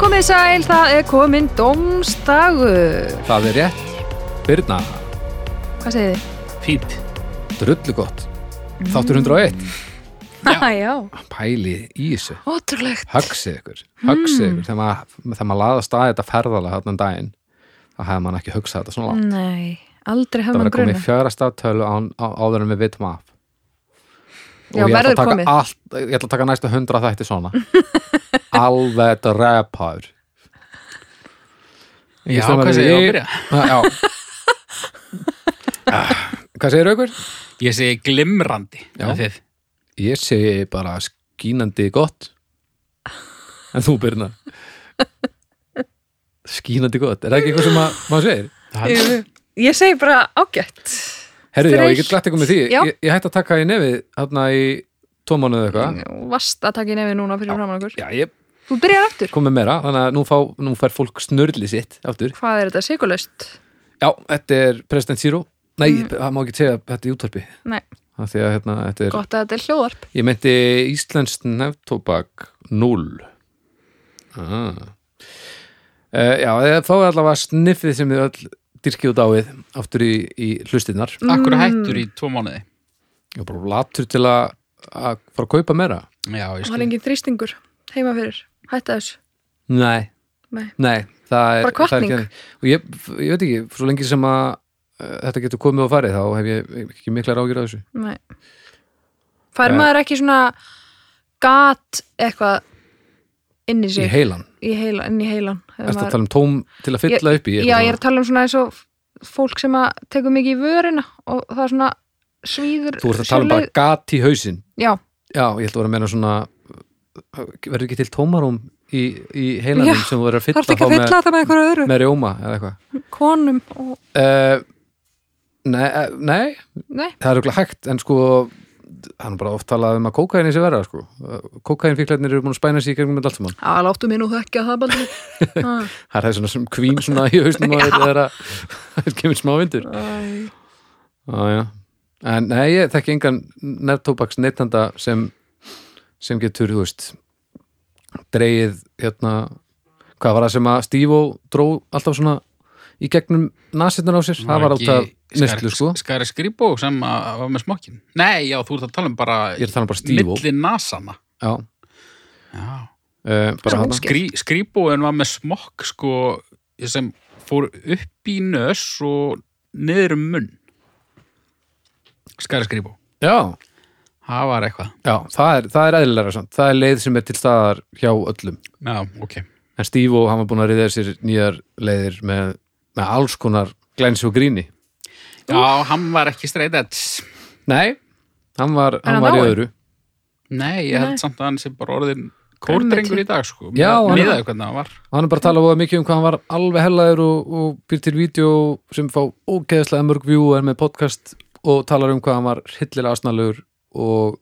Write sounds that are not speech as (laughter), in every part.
Komið sæl, það er komin domstagur. Það er rétt. Birna, Hvað segir þið? Fýtt. drullu gott. Þáttur 101. (laughs) Já. Já. Pælið í þessu. Ótrúlegt. Högsið ykkur. Hmm. Högsið ykkur. Þegar maður, þegar maður laðast að þetta ferðalega hann daginn, þá hefði maður ekki hugsað þetta Mm, svona langt. Nei, aldrei Það hefði var maður að koma í grunna. fjögra staftölu án, á, áður en við vitum af. Og Já, ég ætla að verður taka komið. Allt, ég ætla að taka næstu hundra þætti (laughs) svona. Alveg þetta repaður. Já, hvað segir þú að byrja? (laughs) Já. Ah, Hvað segir aukur? Ég segi glimrandi. Já. Já. Þið. Ég segi bara skínandi gott En þú Birna Skínandi gott Er það ekki eitthvað sem að, maður segir? Það er Ég segi bara ágætt. Herðu, já, Þreytt. ég get glætt eitthvað með því Já. ég, ég hætti að taka í nefið Þarna í tómanuðu eitthvað Vast að taka í nefið núna fyrir framann okkur. Já, ég Þú byrjar aftur. kom með meira Þannig að nú, fá, nú fær fólk snörli sitt aftur Hvað er þetta? Sigurlaust? Já, þetta er President Zero Nei, Mm. það má ekki segja þetta í útvarpi Nei, Af Því að hérna, þetta er gott að þetta er hljóðarp. Ég meinti Íslenskt nefntóbak 0 ah. uh, Já, eða þá er allavega sniffið sem þið öll dyrkið út áið aftur í, í hlustinnar akkur hættur í tvo mánuði. og bara latur til að, að fara að kaupa meira Já, ég Það er skil. engin þrýstingur heima fyrir. Hætta þessu. Nei, Nei. Nei það Bara er, það er hvatning. ekki, og ég, ég veit ekki, svo lengi sem að uh, þetta getur komið og farið þá hef ég ekki miklar ágjur á þessu Nei. Fær Nei. maður ekki svona gat eitthvað inn í í sig? heilan, Í heila, inn í heilan. Ef ertu maður- að tala um tóm til að fylla upp í Já, eitthvað ég er að tala um svona eins og fólk sem að tekur mikið í vörina og það er svona svíður Þú ert að tala sjálfleið- um bara gat í hausinn Já, Já, ég held að vera að meina svona verður ekki til tómarum í, í heilanum Já, sem þú verður þarf að fylla ekki að þá fylla þetta með einhverju öðru með, með rjóma eða eitthvað konum og, uh, nei, eh, nei, nei, það er okkur hægt en sko, hann bara oft talað um að kókaini sé verða sko kókainfíklarnir eru búin að spæna sér í gegnum með allt saman að láttu mér nú þekkja það (laughs) baldur Ah, það er það svona sem kvín svona í hausnum (laughs) að þetta er að (laughs) það kemur smá vindur Já, já. En nei, ég þekki engan nefntóbaks neytanda sem, sem getur, þú veist, dreigið, hérna, hvað var það sem að Stívo dró alltaf svona í gegnum nasirnar á sér? Það var alltaf neslu, sko. Skari skrýbó sem að að var með smokkin. Nei, já, þú ert að tala um bara Ég er þannig bara Stívo. milli nasana. Já, Já. uh, bara hann. óskemmt. Skrí, skrýbóin var með smokk, sko, sem fór upp í nös og niður um munn. Skari skrýbó. Já, Það var eitthvað. já, það er, það er eðlilega samt. Það er leið sem er til staðar hjá öllum. Já, ok. En Stívo, hann var búin að riðja sér nýjar leiðir með, með alls konar glænsi og gríni. Já, hann var ekki straight edge. Nei, hann var, hann hann var í dáinn? öðru. Nei, ég held Nei. samt að hann sé bara orðin kórdrengur í dag sko Já, hann- hann Miðaði hvernig hann var og hann er bara að tala voða mikið um hvað hann var alveg hellaður og, og býr til vídeo sem fá ógeðslega mörg view og er með podcast og talar um hvað hann var hillilega asnalur og,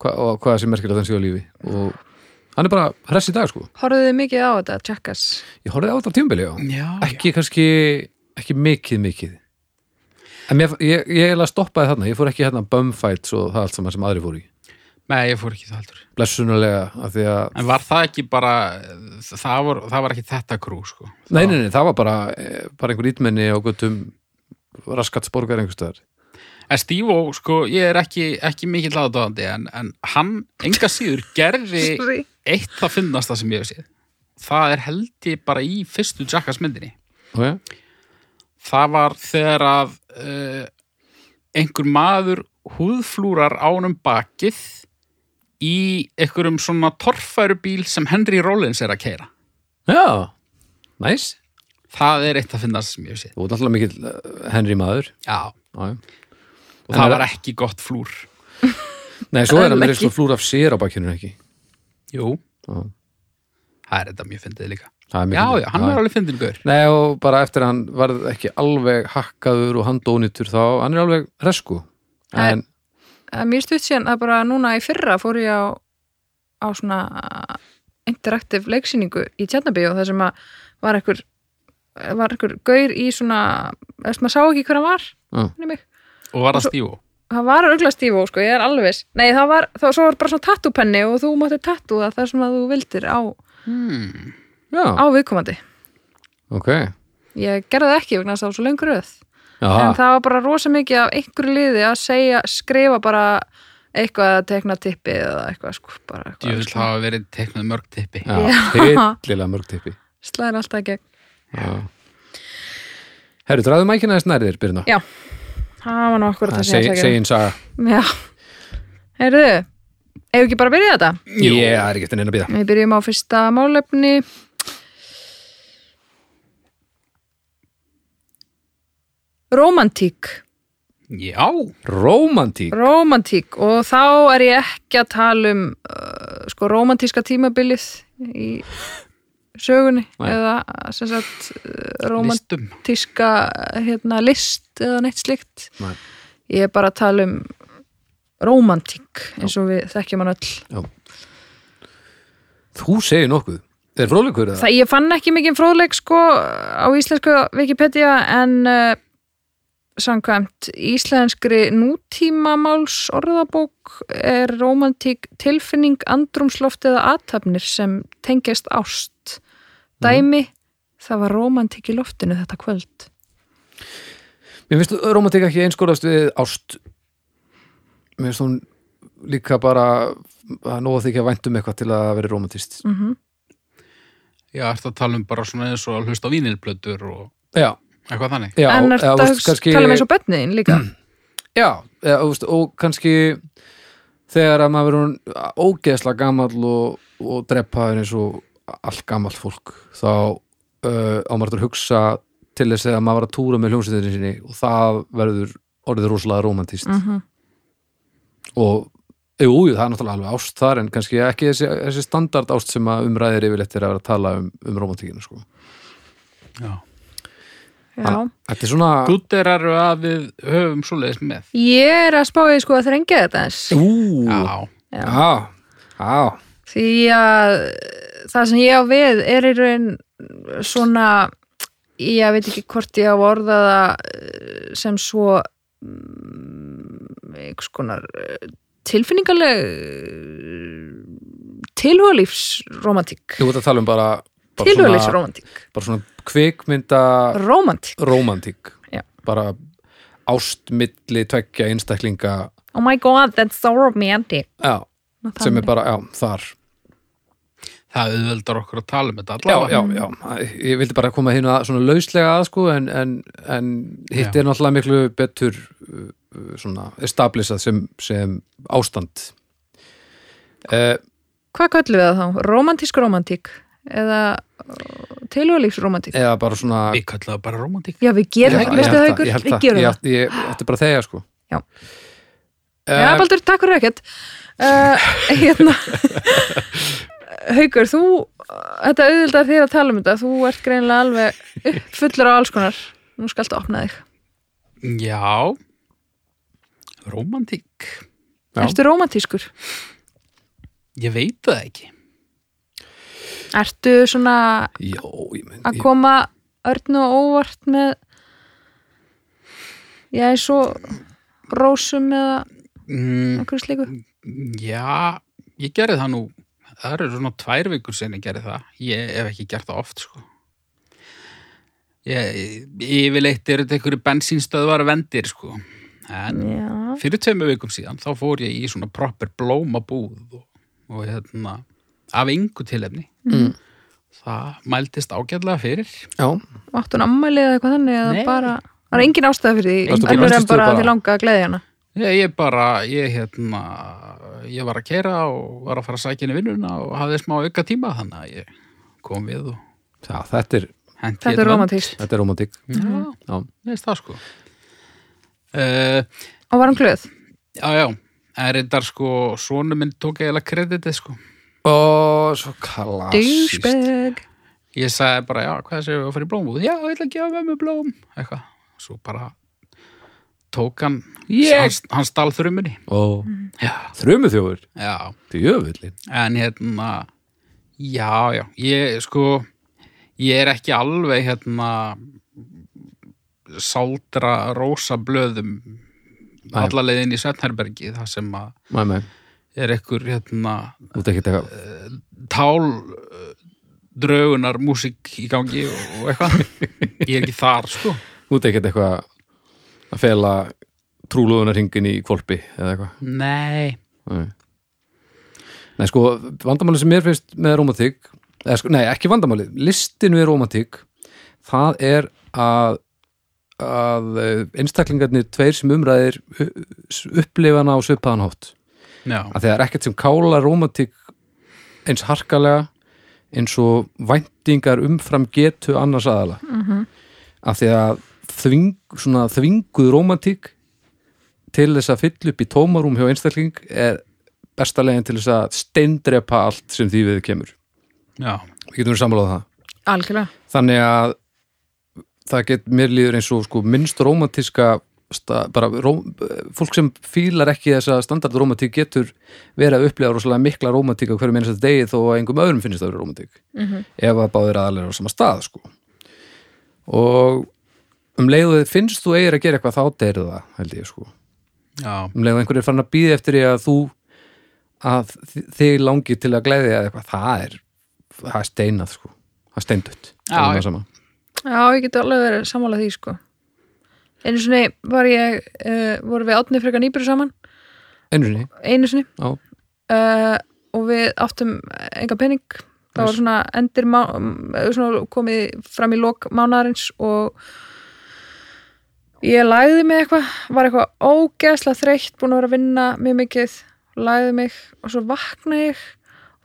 hva, og hvað sem merkir að hann sé á lífi og hann er bara hress í dag sko Horfðuðu mikið á þetta, tjekkas ég horfði á þetta tímbili á Já, ekki kannski, ekki mikið mikið en mér, ég, ég, ég stoppaði þarna, ég fór ekki hérna bumfights og það allt saman sem aðri fór í Nei, ég fór ekki það heldur blessunulega af því að En var það ekki bara, það var, það var ekki þetta krú sko það, Nei, nei, nei, það var bara, eh, bara einhver ítmenni á göttum raskatsborgar einhverstaðar. En Stívo, sko, ég er ekki, ekki mikill aðdáðandi en, en hann, enga síður, gerði Sorry. eitt það finnast það sem ég hef séð Það er held ég bara í fyrstu Jackass myndinni Okay? Það var þegar að uh, einhver maður húðflúrar ánum bakið í einhverjum svona torfærubíl sem Henry Rollins er að keira. Já, næs Það er eitt að finna sem ég hef séð. Þú ert náttúrulega mikill eh, Henry maður Já. Já, já. Og En það er- var ekki gott flúr. Nei, svo er hann Öll meira ekki. svo flúr af sér á bakkinu ekki Jú. Já. Það er þetta mjög fyndið líka. Það er Já, mikið- já, hann var alveg fyndin gaur. Nei, og bara eftir að hann varð ekki alveg hakkaður og handónitur þá hann er alveg resku Nei. En, Það er Eh, Mér stutt síðan að bara núna í fyrra fór ég á, á svona interaktiv leiksýningu í Tjarnabíu þar sem að var ekkur var ekkur gaur í svona eða sem maður sá ekki hver hann var Já. minnir mig Og var það stífó. það var örgla stífó sko, ég er alveg viss. nei, það var, það, svo var bara svona tattúpenni og þú mátti tattúða það sem að þú vildir á Hmm. já, á viðkomandi ok ég gerði það ekki vegna þess að það var svo lengur röð en já, það var bara rosa mikið af einhverju liði að segja, skrifa bara eitthvað að tekna tippi eða eitthvað sko, bara Ég vil eitthvað hafa verið teiknað mörg tippi. já, Já. hillilega mörg tippi slæðir alltaf í gegn já herru, draðu mækina þess nærðir, Birna já, það var nú akkur það sem ég ætla að segin saga, gera. já, heyrðu eigum við ekki bara að byrja þetta? Jú. ég það er ekki eftir neina að býða Við byrjum á fyrsta málefni Rómantík Já, romantík, Rómantík og þá er ég ekki að tala um uh, sko rómantíska tímabilið í sögunni Nei. eða sem sagt uh, listum. rómantíska hérna, list eða neitt slíkt Nei. ég er bara að tala um rómantík eins og við þekkjum hann öll þú segir nokkuð er frólikur það? Það, ég fann ekki mikið fróðleik sko á íslensku Wikipedia en uh, samkvæmt íslenskri nútímamáls orðabók er romantík tilfinning andrumsloft eða athafnir sem tengjast ást. Mhm. Dæmi, það var romantík í loftinu þetta kvöld. Mér finnst romantík ekki einskólast við ást Mér finnst hún líka bara að nóga þykja vænt um eitthvað til að vera romantist Mm -hmm. Já, ertu að tala um bara svona eins og að hlusta á vínilblötur og Já, eitthvað þannig. já en er eða, þetta þú veist, kannski... tala með eins og bönniðin líka? (clears throat) Já, eða, þú veist, og kannski þegar að maður verður ógeðslega gamall og, og drepaður eins og allt gamall fólk þá uh, á maður að hugsa til þess að maður var að túra með hljómsveitinni sinni og það verður orðið rosalega romantist Mm -hmm. og e, jú, jú, það er náttúrulega alveg ást þar en kannski ekki þessi, þessi standard ást sem að umræðir yfirleitt er að vera að tala um, um romantíkinu sko. Já. Já. Þetta er svona Gúttir eru að við höfum svoleiðis með. Ég er að spáði sko að þrengja þetta eins. Ú, já, Já, Já. já því að það sem ég á við er í raun svona ég veit ekki hvort ég á orða það eh, sem svo mm, einhvers konar eh, tilfinningaleg eh, tilhugulífsromantík Þú ert að tala um bara bara svona, tilhugulífsromantík, bara svona kvikmynda romantík romantík Já. bara ást milli tveggja einstaklinga oh my god, that's so romantic já, sem er bara, já, þar það auðveldar okkur að tala um þetta já, allavega. já, já, ég vildi bara koma hérna svona lauslega að sko en, en, en hitt Já. er náttúrulega miklu betur uh, uh, svona establisað sem, sem ástand uh, hvað kallum við það þá? romantísk romantík eða eh, tilhugulífsromantík eða bara svona Við kallum það bara romantík. já, við gerum Eh, Ég- það, ég veistu það held ykkur? ég held við það, gerum ég það held- ég- þetta er bara þegar sko Já. Eh, Já, Baldur, takk fyrir ekkert uh, (laughs) Hérna Haukur, þú Þetta auðvildar þér að tala um þetta Þú ert greinilega alveg fullur á alls konar Nú skaltu opna þig Já, romantík. Já. Ertu rómantískur? Ég veit það ekki. Ertu svona já, ég mynd að ég- koma örn og óvart með Já, eins og rósum eða Mm, einhverju slíku já, ég gerði það nú. Það eru svona tvær vikur sinni gerði það. Ég hef ekki gert það oft, sko. Ég, yfirleitt eru þetta einhverju bensínstöðvar vendir, sko. En Já, fyrir tveimur vikum síðan, þá fór ég í svona proper blómabúð og, og hérna, af yngu tilefni. Mm. Það mældist ágætlega fyrir. já, áttu hún ammæli eða eitthvað þannig eða Nei. bara Það er engin ástæða fyrir því, Varstu bara- önnur en varstu bara bara- því langa að gleðja hana. Ég, ég bara, ég hérna, ég var að keira og var að fara að sækja inn í vinnuna og hafði smá auka tíma þannig að ég kom við og já, þetta er hendi Þetta er Mm. romantíst. þetta er romantík Já, já, neðist það sko. Uh, Og var hún glöð? já, já, en reyndar sko, sonu minn tók eiginlega kreditið sko. og svo klassist Douchebag Ég sagði bara, já, hvað séu við að fara í blómúð? Já, ég ætla að gefa með mér blóm, eitthvað. Svo bara tók hann, Ég- hann, hann stál þrumunni. og Já, þrumuþjófur, já. þetta er jöfullin en hérna já, já, ég sko ég er ekki alveg hérna sáldra rósa blöðum Nei. alla leiðin í Svetnherbergi það sem að mæ, mæ, er ekkur hérna þú ert ekki að taka tál eh, draugunar músík í gangi og, og eitthvað ég er ekki þar sko Þú ert ekkert eitthvað að fela trúlóðunarhingin í kvolpi eða eitthvað nei, Nei. Nei, sko, vandamálið sem mér finnst með romantík eða, sko, Nei, ekki vandamálið, listin við romantík það er að að eh, einstaklingarnir tveir sem umræðir upplifana á svipaðan hátt já, að þegar ekkert sem kála romantík eins harkalega eins og væntingar umfram getu annars aðala mm að því að þving, svona, þvinguð romantík til þess að fylla upp í tómarúm hjá einstakling er besta legin til þess að steindrepa allt sem því við kemur já, við getum við samlað það algjörlega þannig að það get mér líður eins og sko minnst romantíska sta- bara ró, fólk sem fílar ekki þessa standard romantík getur verið að upplega rosalega mikla romantík á hverju minnst að degi þó að einhverjum öðrum finnist það að vera romantík -hmm. ef að báðir aðalega á sama stað sko og um leiðu finnst þú eigir að gera eitthvað þá deyrið það held ég sko já, um leiðu einhverju er farin að býða eftir því að þú að þi- þig langi til að gleðja eða eitthvað, það er það er steinað sko, það er steindutt Já, Það er já. það sama. Já, ég get alveg verið sammála því sko Einu sinni var ég uh, voru við átni frekar nýbyrðu saman einu sinni, einu sinni já uh, og við áttum enga pening það var Yes. svona endir má- um, svona komið fram í lok mánarins og ég læði mig eitthvað var eitthvað ógeðslega þreytt búin að vera að vinna mjög mikið læði mig og svo vakna ég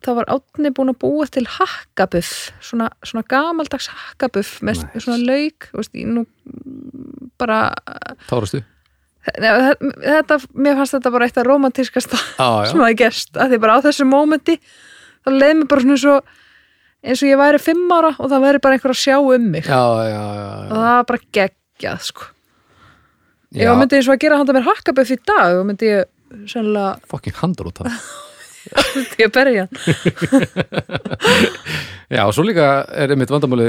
þá var átni búin að búa til hakkabuff, svona, svona gamaldags hakkabuff með Nice. svona lauk þú veist, ég nú mm, bara Tárastu? Nei, þetta, mér fannst þetta bara eitt af romantískasta Já, já. sem það gerst að því bara á þessu mómenti þá leið mér bara svona eins og eins og ég væri fimm ára og það væri bara einhver að sjá um mig Já, já, já, og það var bara geggjað sko já. ég var myndið eins og að gera handa mér hakkabuff í dag og myndi ég sennilega (laughs) Fucking handróta myndi ég berja hann. Já, og svo líka er einmitt vandamáli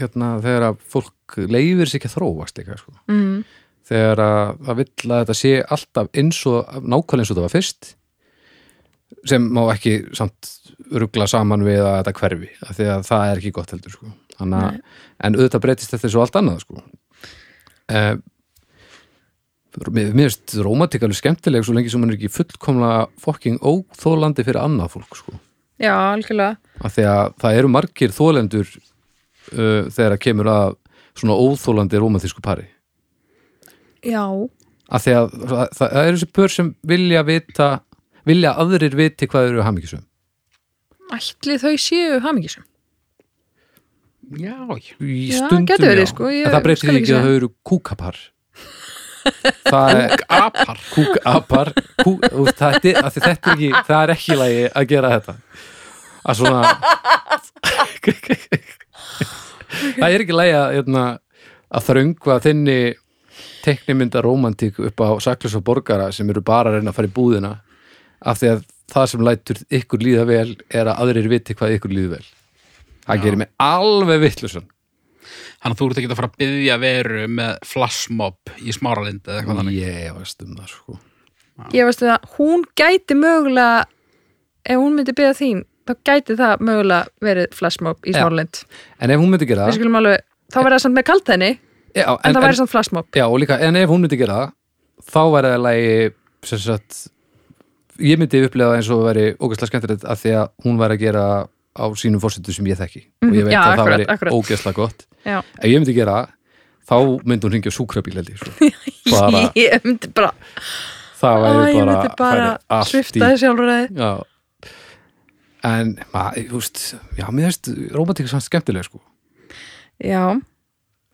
hérna þegar að fólk leifir sér ekki að þróast líka sko. mm, þegar að það vill að þetta sé alltaf eins og nákvæmlega eins og það var fyrst sem má ekki samt ruggla saman við að þetta hverfi af því að það er ekki gott heldur sko. Þannig að- en auðvitað breytist þetta eins og allt annað sko. eh, mér mér finnst rómatík alveg skemmtileg svo lengi sem hann er ekki fullkomlega fokking óþólandi fyrir annað fólk sko já, algjörlega að því að það eru margir þólendur uh, þegar að kemur að svona óþólandi rómantísku pari já, að því að það, það eru þessi pör sem vilja vita vilja að aðrir viti hvað þeir eru hamingisum ætli þau séu hamingisum já, já, í Já, stundum gæti verið, sko, ég en það breytir skal því ekki ekki að segja. þau eru kúkapar það er apar kúkapar kú, þú veist, það, er- af því þetta er ekki það er ekki í lagi að gera þetta að svona það er ekki í lagi að, hérna, að þröngva þinni teknimynda romantík upp á saklus og borgara sem eru bara að reyna að fara í búðina af því að það sem lætur ykkur líða vel er að aðrir viti hvað ykkur líður vel það gerir mig alveg um vittlusun þannig að þú ert ekki að fara að byggja veru með flashmob í smáralind eða eitthvað þannig ég veist um það sko ég veist það, hún gæti mögulega ef hún myndi byrja þín þá gæti það mögulega verið flashmob í Já. Smáralind en ef hún myndi gera við það skulum alveg, þá verða það samt með kaltæni en, já, en, það væri samt flashmob Já, og líka, en ef hún myndi gera það þá væri það lægi sem sagt, ég myndi upplega það eins og væri ógæslega skemmtilegt að því að hún væri að gera það á sínum fórsetu sem ég þekki og ég Mhm, veit já, að akkurat, það væri akkurat. ógæslega gott já. ef ég myndi gera það, þá myndi hún ringja súkrabíl held ég (laughs) sko. bara, (laughs) ég myndi bara, það Æ, væri ég bara, myndi bara færi allt í- svifta þessi álfræði Já En, maður, þú veist, já, mér veist romantík er samt skemmtileg, sko já,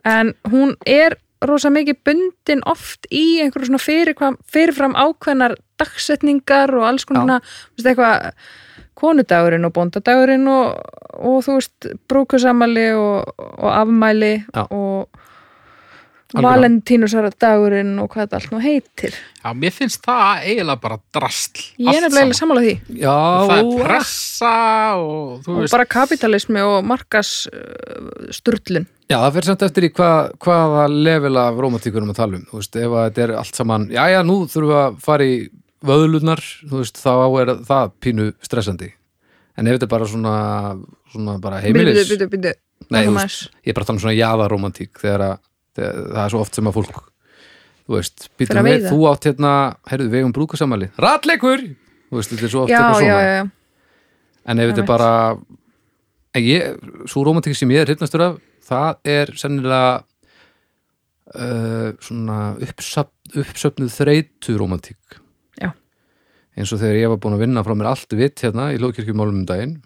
en hún er rosa mikið bundin oft í einhverju svona fyrirfram, fyrirfram ákveðnar dagsetningar og alls konar Já. svona, þú veist, eitthvað konudagurinn og bóndadagurinn og, og þú veist, brúkusamali og, og afmæli Já. og Algjörlega. valentínusardagurinn og hvað þetta allt nú heitir já, mér finnst það eiginlega bara drastl ég er allt nefnilega saman. sammála því Já, það er og- pressa og þú og veist bara kapitalismi og markas uh, sturdlun Já, það fyrir samt eftir í hva, hvaða level af romantíkurum að tala um, þú veist, ef að þetta er allt saman, já, já, nú þurfum við að fara í vöðlunar, þú veist, þá er það pínu stressandi. en ef þetta er bara svona, svona bara Bíddu, heimilis bíddu, bíddu. Nei, þú Nokkuð veist, ég er bara þannig svona jaðaromantík þegar, að, þegar það er svo oft sem að fólk þú veist, Fer að býtum við, veiða. þú átt hérna heyrðu, við eigum brúkasamæli, ratleikur þú veist, þetta er svo oft já, eitthvað já, svona já, já. en ef þetta er Einmitt. bara en ég, svo romantík sem ég er hrifnastur af það er sennilega uh, svona uppsöfn, uppsöfnuð þreytu romantík Já. eins og þegar ég var búin að vinna frá mér allt vitt hérna í Lókirkjumálum um daginn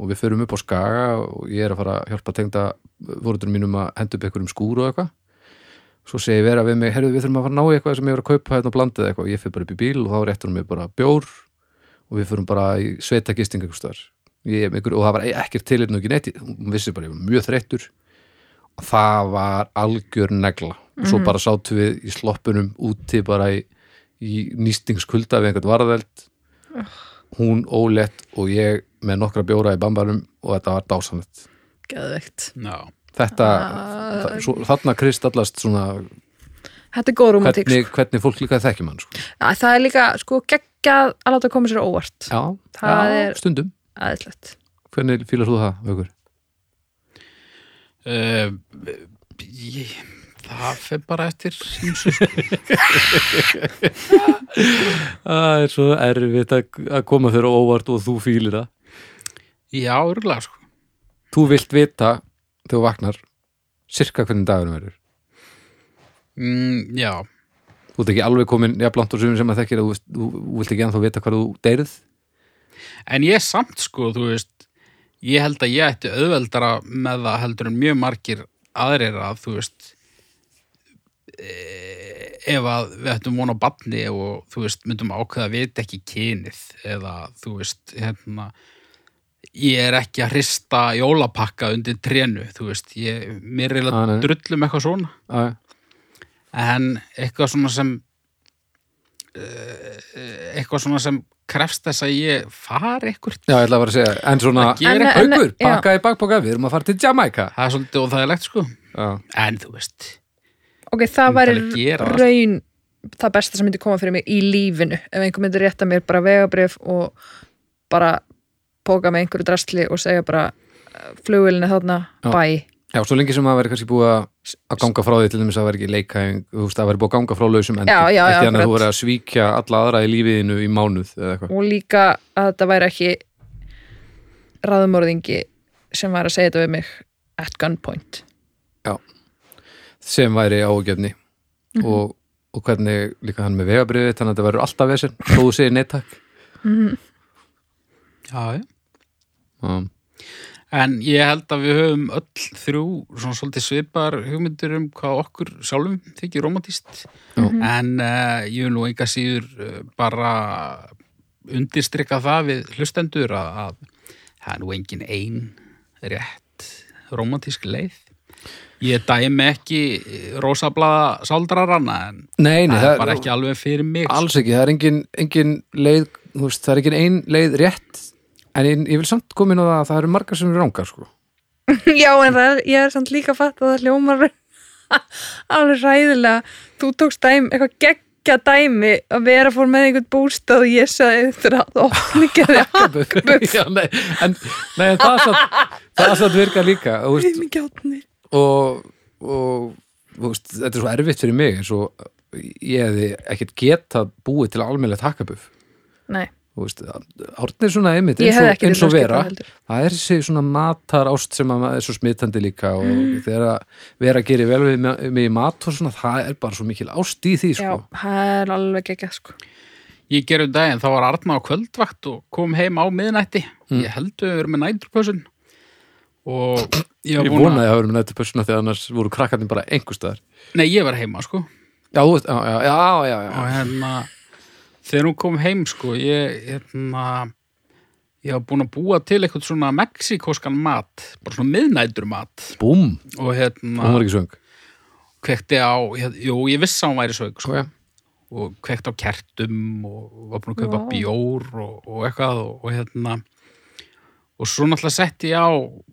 og við förum upp á Skaga og ég er að fara að hjálpa tengda voruður mínum að henda upp einhverjum skúr og eitthvað svo segi vera við mig, herðu við þurfum að fara að ná í eitthvað sem ég var að kaupa hérna og blandið eitthvað og ég fyrir bara upp í bíl og þá réttur hún mig bara bjór og við fyrir bara í sveita gisting einhvers staðar. Ég- einhver- og það var e- ekkert tilirn og ekki neitt hún vissi bara, ég var mjög þreyttur og það var algjör negla og Mhm. svo bara sátu við í sloppunum úti bara í, í nýstingskulda við einhvern varðeld hún ólett og ég með nokkra bjóra í bambarum og þetta var dásanlegt Geðveikt. Já, þetta, Ah. þa- svo, þarna kristallast svona Þetta er góð romantík. hvernig, hvernig fólk líka þekkjum hann sko. Sko. Æ, Það er líka sko geggjað að láta koma sér á óvart. já, Það já, er- stundum Æðislegt. hvernig fýlar þú það, Vögur? uh, ég, það fer bara eftir ýmsu. sko. Það er svo erfitt að, að koma þér á óvart og þú fýlir það. Já, örgulega sko Þú vilt vita þegar þú vaknar sirka hvernig dagurinn verður. mm, Já, Þú ert ekki alveg komin jafnblant og sumir sem að þekkir að þú, veist- þú, þú vilt ekki ennþá vita hvað þú deyrið. en ég samt sko, þú veist ég held að ég ætti auðveldara með það heldur en mjög margir aðrir að þú veist e, ef að við ættum von á batni og þú veist myndum ákveða að vita ekki kynið eða þú veist hérna ég er ekki að hrista jólapakka undir trénu, þú veist ég, mér er Ah, að nei. drullum eitthvað svona Æ, en eitthvað svona sem eh, eitthvað svona sem krefst þess að ég fari eitthvað Já, ég ætla að vera að segja, en svona, Það gerir En- en- haukur, já. pakka í bakpoka, við erum að fara til Jamaica. það er svolítið óþægilegt sko Já, en þú veist Ok, það Myndi væri alveg gera það. raun það besta sem myndi koma fyrir mig í lífinu ef einhver myndi rétta mér bara vegabrif og bara póka með einhverju drastli og segja bara flugvilinu þarna, Já. bæ já svo lengi sem að vera kannski búið að- að ganga frá því til þess að vera ekki leikæðing, þú veist, að vera búið að ganga frá lausum endi. Já, já, já, Ekki þannig að þú akkurat. verið að svíkja alla aðra í lífiðinu í mánuð eða eitthvað. og líka að þetta væri ekki ráðumorðingi sem var að segja þetta við mig at gunpoint sem væri ágefni Mhm. og, og hvernig líka hann með vegabriðið þannig að þetta verður alltaf vesinn þó þú segir neitt takk já, já. um, en ég held að við höfum öll þrjú svona svolítið svipar hugmyndir um hvað okkur sjálfum þykir romantist Já. en uh, ég vil nú enga síður uh, bara undirstrykka það við hlustendur að, að það er nú engin ein rétt romantísk leið ég dæmi ekki rosablaða sáldraranna en Nei, nei, það það er bara ekki alveg fyrir mig sko. alls ekki, það er engin, engin leið, þú veist, það er engin ein leið rétt en ég, ég vil samt koma inn á það að það eru margar sem eru rangar sko. (laughs) Já, en það er, ég er samt líka fatt að það hljómar (laughs) alveg ræðilega. Þú tókst dæmi, eitthvað geggja dæmi að vera fór með einhvern bústað og ég sagði þetta er að opni (laughs) gerði hakkabuff. (laughs) Já, nei, en, nei, en það satt, það satt virka líka þú veist, Mikið átni. og, og þú veist, þetta er svo erfitt fyrir mig eins og ég hefði ekkert geta búið til almennilegt hakkabuff Nei, þú veist, Árni er svona einmitt Ég eins hefði og, ekki eins og viljað skipta vera heldur. það er þessi svona matar ást sem að maður er svo smitandi líka og Mm. þegar að vera að gera vel við mig- mig í mat og svona, það er bara svo mikil ást í því já, sko. það er alveg geggjað sko. Ég gerum daginn, þá var Arna á kvöldvakt og kom heim á miðnætti. Mm. Ég held við verið með næturpössun (clears throat) og ég var ég búin að... vonaði að hafa verið með nættu pössuna þegar annars voru krakkarnir bara einhver staðar Nei, ég var heima, sko. já, þú veist, já, já, já, já, já. Og hérna, þegar hún kom heim, sko, ég, hérna, ég var búin að búa til eitthvað svona mexikóskan mat, bara svona miðnætur mat búm, og hún hérna, var ekki svöng kvekti á, hér, jú, ég vissi að hún væri sög, sko. sko, já. og kveikt á kertum og var búin að kaupa Vá. bjór og, og eitthvað og, og hérna og svo náttúrulega setti ég á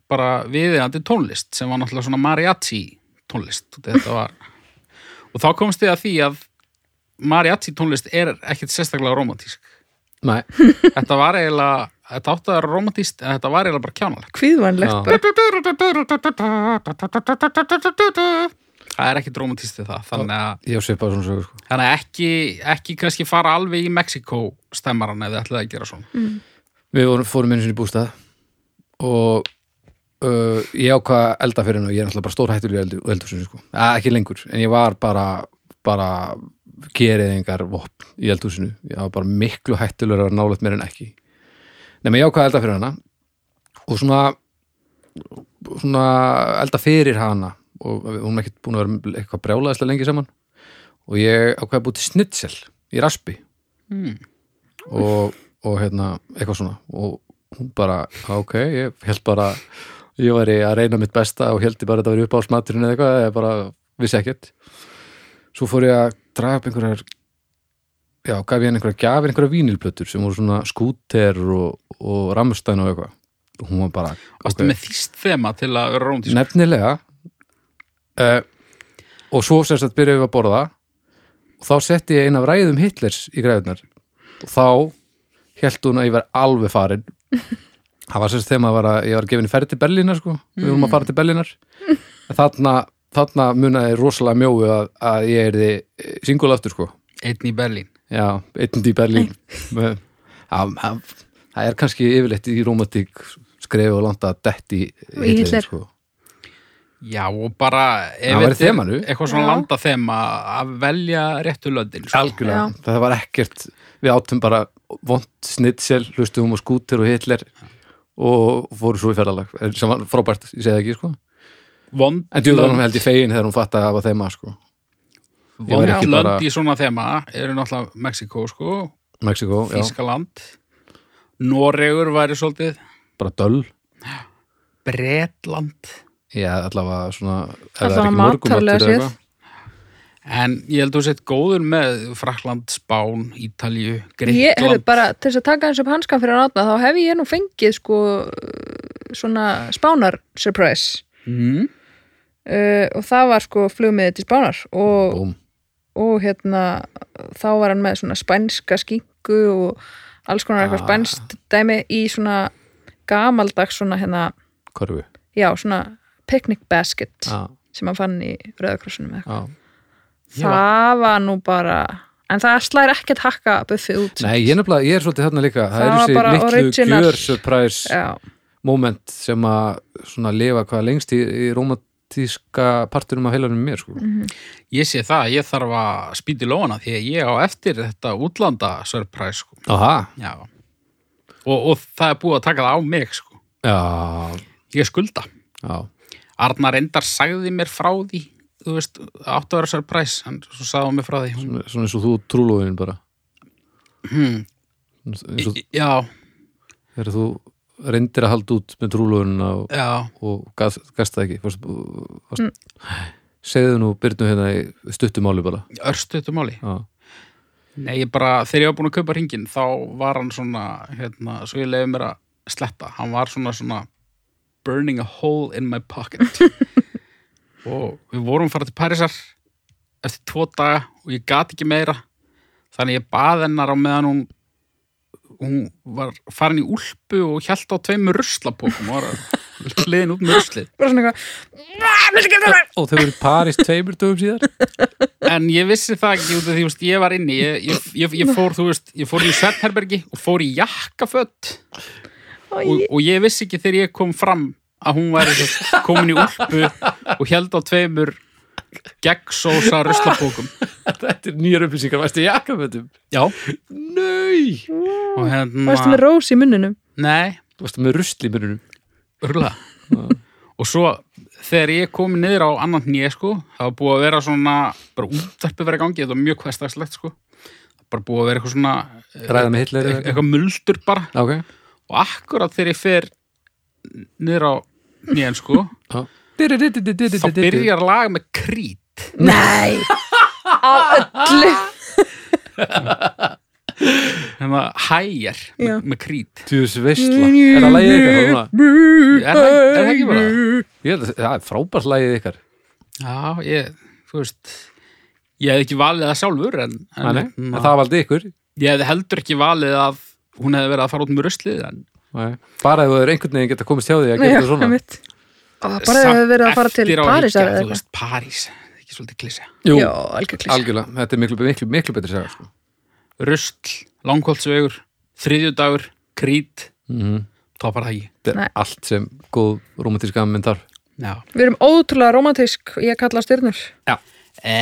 bara viðeigandi tónlist sem var náttúrulega svona mariachi tónlist þetta var og þá komst ég að því að mariachi tónlist er ekkit sérstaklega romantísk Nei, þetta var eiginlega þetta átti að vera romantist en þetta var eiginlega bara kjánalegt Já. kvíðvænlegt bara. það er ekkit romantist við það þannig að, ég á svipað svona sögur sko. þannig að ekki, ekki kannski fara alveg í Mexiko stemmaran ef þið ætlaði að gera svona við vorum, fórum einu sinni í bústað og uh, ég ákvað að elda fyrir hennu og ég er náttúrulega bara stór hættulega eldur, eldur sko. að, ekki lengur, en ég var bara bara gerið engar vopn í eldhúsinu, ég var bara miklu hættulegur að nálega mér en ekki nema ég ákvað að elda fyrir hana og svona svona elda fyrir hana og við- hún er ekkert búin að vera eitthvað brjálaðislega lengi saman og ég ákvað að búið til snitsel í raspi mm. og, og hérna, eitthvað svona og hún bara, ok, ég held bara ég var að reyna mitt besta og heldi bara að þetta var upp á smaturinn eða eitthvað eða bara vissi ekkert svo fór ég að draga upp einhverjar já, gaf ég henni einhverjar gjafir einhverjar vínilplötur sem voru svona skúter og, og rammstæn og eitthvað og hún var bara, varstu með þýst þema til að vera romantist nefnilega uh, og svo sem sagt byrjuðum við að borða og þá setti ég eina af ræðum Hitlers í græðunar og þá held hún að ég var alveg farin það var sem sagt þegar maður var að ég var að gefa henni ferð til Berlínar sko, við vorum að fara til Berlínar en þarna, þarna munaði rosalega mjóu að, að ég erði singul aftur sko einn í Berlín Já, einn í Berlín Með- Já, hann- það er kannski yfirleitt í romantík skrefið og landa að detti Í Hitler. sko. já og bara ef Það væri þetta er þemanu. eitthvað svona Já. landa þema að velja réttu löndin sko. algjörlega, það var ekkert við áttum bara vond snitsel hlustum á skúter og hitler og fóru svo í ferðalag eh, sem var frábært, ég segi það ekki sko vond en djúðanum lönd, held ég fegin þegar hún fatta að það var þeim að sko ég vond væri ekki lönd bara- í svona þema eru náttúrulega Mexiko sko, Mexiko, já, Þískaland Noregur væri svolítið bara döl Bretland já, allavega svona ef Allavega það er ekki morgunmatur matarlega eða séð. eitthvað. En ég held að þú sett góður með Frakland, Spán, Ítalju, ég hefði Greikland. bara til þess að taka eins upp hanskan fyrir að þá hef ég nú fengið sko uh, svona spánar surprise Mm, uh, og það var sko flugmiði til spánar og, Búm. og hérna þá var hann með svona spænska skinku og alls konar Ah. eitthvað spænst dæmi í svona gamaldags svona hérna körfu já svona picnic basket Já, sem hann fann í Rauðakrossunum eða eitthvað. já. það var nú bara en það slær ekkert hakka buffi út Nei, ég, nefnilega, ég er svolítið þarna líka það, Það var er bara þessi litlu original. gjör surprise já, moment sem að svona lifa hvað lengst í, í romantíska parturum af heilanum mér sko Mhm. ég sé það, ég þarf að spýti lóna því að ég á eftir þetta útlanda surprise sko. Aha, Já. Og, og það er búið að taka það á mig sko. Já, Ég skulda. já, Arnar Endar sagði mér frá því, þú veist, áttu að vera surprise, hann svo sagði hún mér frá því. Hún, svona svona eins og þú trúlóðin bara hmm, eins og já, þegar þú reyndir að halda út með trúlóðinna og, já, og gast, gast það ekki fórst, fórst, mm. segðu nú byrnu hérna í stuttumáli bara örstuðtu máli. já, Nei, ég bara, þegar ég var búin að kaupa ringin þá var hann svona, hérna, svo ég leiði mér að sletta, hann var svona svona burning a hole in my pocket og við vorum að fara til Parísar eftir tvo daga og ég gat ekki meira þannig ég bað hennar á meðan hún hún var farin í úlpu og hjælt á tveimur ruslapókum og var hliðin út með ruslið bara svona eitthvað "Ah, viltu ekki þetta?" og þau eru í París tveimur dögum síðar En ég vissi það ekki út af því, þú veist, ég var inni, ég, ég, ég, ég fór, þú veist, ég fór í Svetherbergi og fór í jakkafött Ó, og, og ég vissi ekki þegar ég kom fram að hún væri svo komin í úlpu og held á tveimur gegnsósa ruslapókum (laughs) þetta er nýjar upplýsingar, varstu í jakafötum já Nei, og hérna, varstu með rós í munninum nei, varstu með rusli myrunum rúla og svo þegar ég kom niður á annan nýja sko, það var búið að vera svona bara útverfi verið gangi, þetta var mjög hversdagslegt sko, bara búið að vera eitthvað svona eh, ræða með Hitler eða eitthvað? eitthvað muldur bara ok, og akkurat þegar ég fer niður á nýjan sko já þá byrjar lag með krít nei á öllu hérna hæjar með, Já. með krít tjúðs veistla, er það lægið eitthvað svona? er það, er það ekki bara Ég held að það er frábært lægið ykkar Já, ég, þú veist ég hefði ekki valið það sjálfur en, en, Nei, nei, hérna, en það valdi ykkur ég hefði heldur ekki valið að hún hefði verið að fara út með ruslið en Nei. bara ef þú er einhvern veginn geta komist hjá því að gera Já, þetta svona einmitt. Ó, bara hefur verið að fara til eftir á París higgja, eða þú eitthvað. veist, París, það er ekki svolítið klísja Jú, Já, algjör klís. algjörlega, þetta er miklu, miklu, miklu betri saga sko. Rustl, Langholtsvegur þriðjudagur, Krít Mhm. topar það í þetta er Nei. allt sem góð romantíska mynd þarf Já. Við erum ótrúlega romantísk, ég kalla styrnur. E,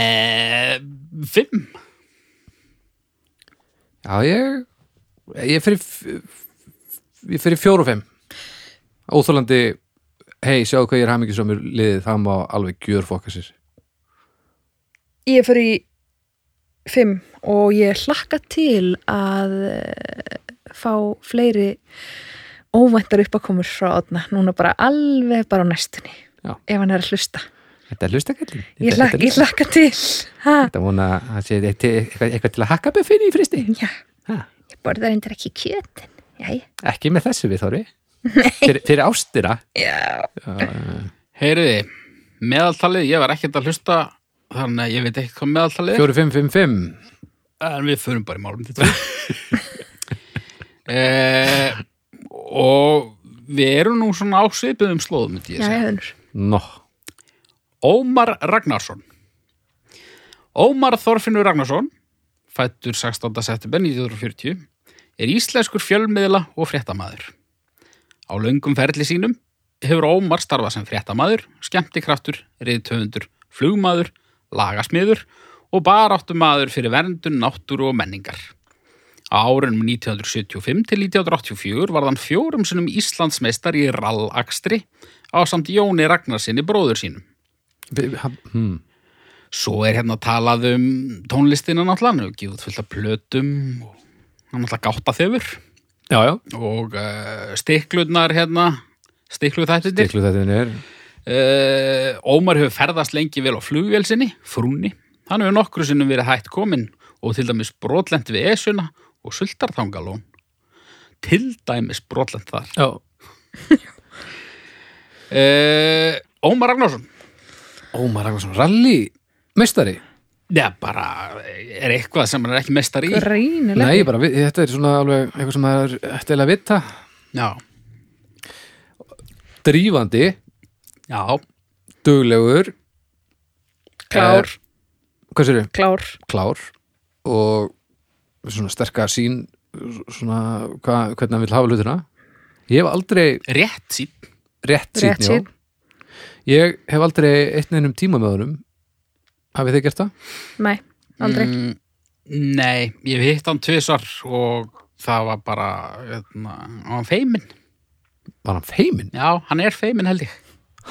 fimm Já, ég ég fyrir f- f- ég fyrir fjóru og fimm óþólandi hei, sjáðu hvað ég er hamingjusömmur liðið, það má alveg gjör fokka sér Ég fer í fimm og ég hlakka til að eh, fá fleiri óvæntar uppakomur frá Odna núna bara alveg bara á næstunni Já. ef hann er að hlusta Þetta er lustakallin ég, hlak, ég hlakka til ha, Þetta vona að það sé eitthvað, eitthvað til að hakka buffinu í fristi já, ha, ég borða reyndir ekki kjötin já, Ekki með þessu við þóri fyrir, fyrir ástira já. Heyriði, meðaltalið, ég var ekkert að hlusta þannig að ég veit ekki hvað meðaltalið er. 4555 en við förum bara í málum þetta (laughs) eh, og við erum nú svona ásvipuðum slóðum myndi ég já, segja. hefðunur Nó, Ómar Ragnarsson Ómar Þorfinnur Ragnarsson fættur 16. september 1940 er íslenskur fjölmiðla og fréttamaður Á löngum ferli sínum hefur Ómar starfað sem fréttamaður, skemmtikraftur, reyðtöfundur, flugmaður, lagasmiður og baráttumaður fyrir verndun, náttúru og menningar. Á árunum 1975 til 1984 var hann fjórum sinnum Íslandsmeistar í rallakstri á samt Jóni Ragnarsinni bróður sínum. B- ha- hmm. Svo er hérna talað um tónlistina náttúrulega, hann hefur gefið út fullt af plötum og hann náttúrulega gátta þefur Já, já, og uh, stiklurnar hérna, stikluþættinir. dyklu þetta er Uh, Ómar hefur ferðast lengi vel á flugvélsinni, frúni. Hann hefur nokkru sinnum verið hætt kominn og til dæmis brotlent við Esuna og sultartangalón. Til dæmis brotlent þar. Já, Uh, Ómar Ragnarsson, Ómar Ragnarsson, rally Meistari, Já, bara eh, er eitthvað sem hann er ekki mestar í. greinilega nei, bara, við, þetta er svona alveg eitthvað sem það er eftir eiginlega að vita Já, Drífandi, já. duglegur klár, Hvað sér klár Klár og svona sterka sín svona hva, hvernig hann vil hafa hlutina Ég hef aldrei rétt sín rétt Rétt sýtni, sýnn. já. Ég hef aldrei eitt neinum tíma með honum. Hafið þið gert það? nei, aldrei mm, Nei, ég hef hitt hann tvisar og það var bara hérna, hann var feiminn Var hann feiminn? Já, hann er feiminn held ég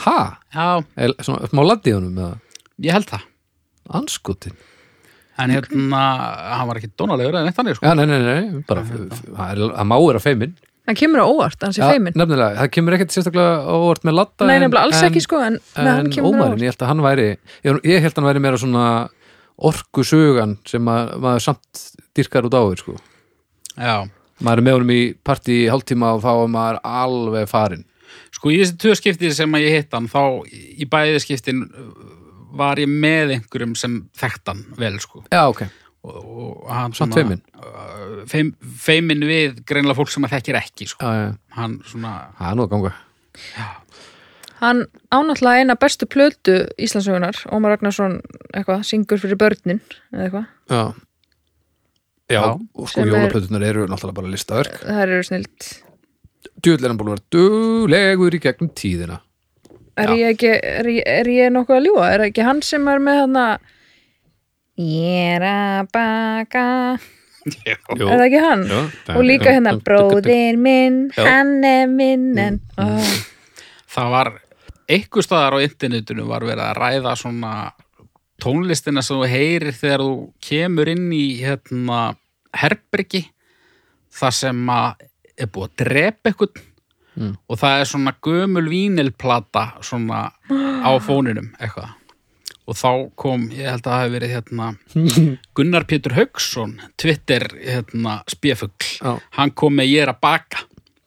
Ha? Já, Er, svona smá laddið honum með ég held það anskutin? En hérna, hann var ekki dónalegur eða neitt hann sko. Já, nei, nei, nei, bara það er- það má vera feiminn. hann kemur á óvart, hann sé Já, feimin Nefnilega, það kemur ekkert sérstaklega á óvart með ladda. nei, en- nefnilega alls en- ekki sko en, en hann En kemur á ómærin, óvart ég held að hann væri, ég, ég held að hann væri meira svona orkusugan sem að, maður samt dyrkar út á þér, sko. Já, Maður er með honum í partí í hálftíma og þá er maður alveg farinn. sko í þessi tvö skipti sem að ég hitt hann þá í bæði skiptin uh, var ég með einhverjum sem þekkt hann vel sko Já, ok. og, og hann Samt feiminn. uh, feim, Feiminn við greinlega fólk sem að þekkir ekki sko Já, já. Hann svona Það er nú að ganga. Hann ánáttúrulega eina bestu plötu Íslandsögunar, Ómar Ragnarsson eitthvað, syngur fyrir börnin eða eitthvað, Já Já, (laughs) og sko Sem er- jólaplötunar eru náttúrulega bara listaverk það eru snilt Djúðlega hann búin að vera duglegur í gegnum tíðina er Já. ég, ekki, er, ég, er ég nokkuð að ljúga? Er ekki hann sem er með hann Ég er að baka Jú, Er það ekki hann? jú, Og líka hérna, jú, jú, jú, jú. bróðir minn, Já. Mm. hann er minn en Ó, það var einhver staðar á internetinu var verið að ræða svona tónlistina sem þú heyrir þegar þú kemur inn í hérna, herbyrgi þar sem að er búið að drepa eitthvað Mm. og það er svona gömul vínilplata svona (gasps) á fóninum eitthvað og þá kom, ég held að það hef verið hérna, (laughs) Gunnar Pétur Hauksson Twitter hérna, spjöfugl Já. hann kom með ég er að baka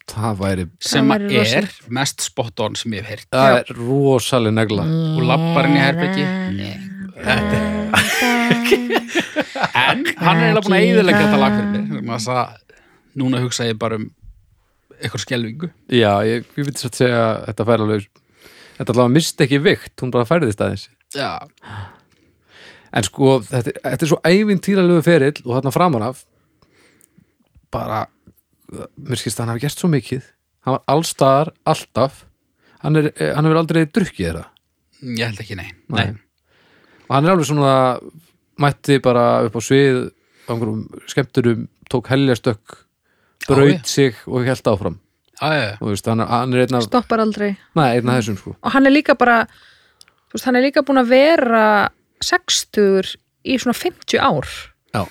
Það væri sem væri að er mest spot on sem ég hef heyrt Það er rosaleg negla og lappar inn í herbyggi en hann er eiginlega búin að eiginlega þetta lag fyrir mér vegna þess að núna hugsa ég bara um eitthvað skelvingu já, ég, ég veit satt segja að þetta fær alveg þetta allavega misti ekki vikt, hún bara færðist aðeins já, en sko, þetta, þetta er svo ævintýralegu ferill og þarna framan af bara mér skilst að hann hafi gert svo mikið hann var allstaðar, alltaf hann, er, eh, hann hefur aldrei drukkið þeirra ég held ekki, nei, Nei. og hann er alveg svona mætti bara upp á svið á einhverjum skemmturum, tók helgjastökk braut Já, sig og held áfram Já, já, já. og veist, hann, er- hann er einn af, stoppar aldrei nei, einn af þessum sko og hann er líka bara þú veist, hann er líka búin að vera 60 í svona 50 ár já, já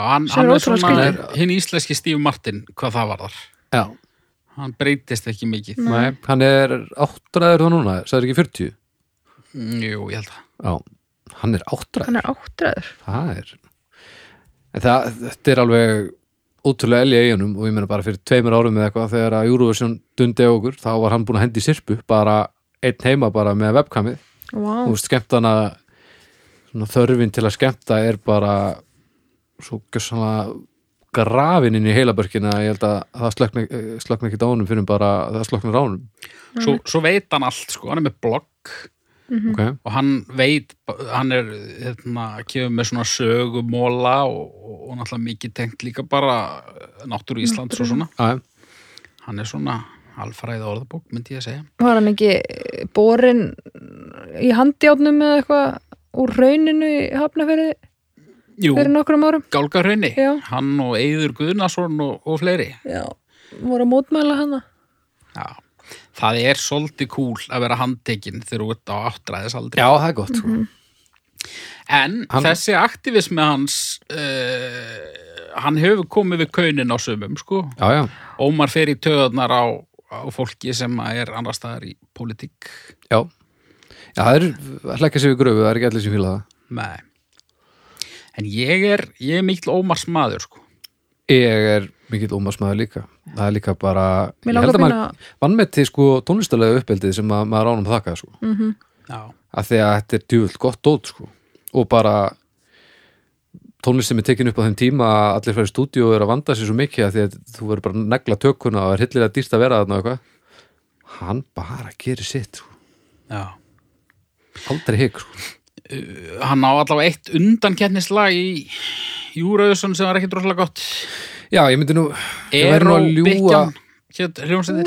hann, hann Sem er er ótrúlega svona skrítið. hinn íslenski Steve Martin, hvað það var þar já. hann breytist ekki mikið Nei, hann er áttræður þá núna, sagði ekki 40 Mm, jú, ég held að já, hann er áttræður hann er áttræður Það er en það, þetta er alveg ótrúlega elja í honum og ég meina bara fyrir tveimur árum eða eitthvað þegar að Eurovision dundi á okkur þá var hann búin að hendi í sirpu bara einn heima bara með webkamið og wow. veist, skemmtana svona, þörfin til að skemmta er bara svo gjössanlega grafin inn í heilabörkina ég held að það slökna, slökna ekki dánum fyrir bara það slökna ránum svo, svo veit hann allt, sko, hann er með blogg mm -hmm. og hann veit hann er, hérna, kemur með svona sögumóla og, og, og náttúrulega mikið tengt líka bara náttúru Íslands og svona okay. hann er svona alfræði orðabók, myndi ég að segja var hann ekki borin í handjátnum eða eitthvað úr rauninu í hafnaferði Jú, fyrir nokkrum árum Gálgarhraunni, Já. hann og Eyður Guðnason og, og fleiri já, voru að mótmæla hana Já. það er svolítið kúl að vera handtekinn þegar þú ert á áttræðisaldri Já, það er gott sko. en Hann- þessi aktivismi hans uh, hann hefur komið við kaunin á sömum sko Já, já, Ómar fer í töðunar á, á fólki sem að er annar staðar í pólitík já Já, það er hlækja sér við gröfu, það er ekki allir sem fíla það Nei. En ég er, ég er mikil Ómars maður, sko. Ég er mikill ómasmaður líka Það er líka bara Mér Ég langar held að að maður vannmeti sko tónlistalega uppeldið sem að, maður ánum þakka sko. mm. Já. að því að þetta er djúvöld gott dót sko. og bara tónlist sem er tekin upp á þeim tíma að allir færi stúdíu og er að vanda sér svo mikið að því að þú verður bara að negla tökuna og er hillilega dýrst að vera þarna og eitthvað Hann bara gerir sitt sko. Já. aldrei hik sko. Hann á allavega eitt undankennislag í Júraðusson sem var ekkit rosalega gott. Já, ég myndi nú ég væri Eró nú að ljúga Byggjan. Hér, hljómsið.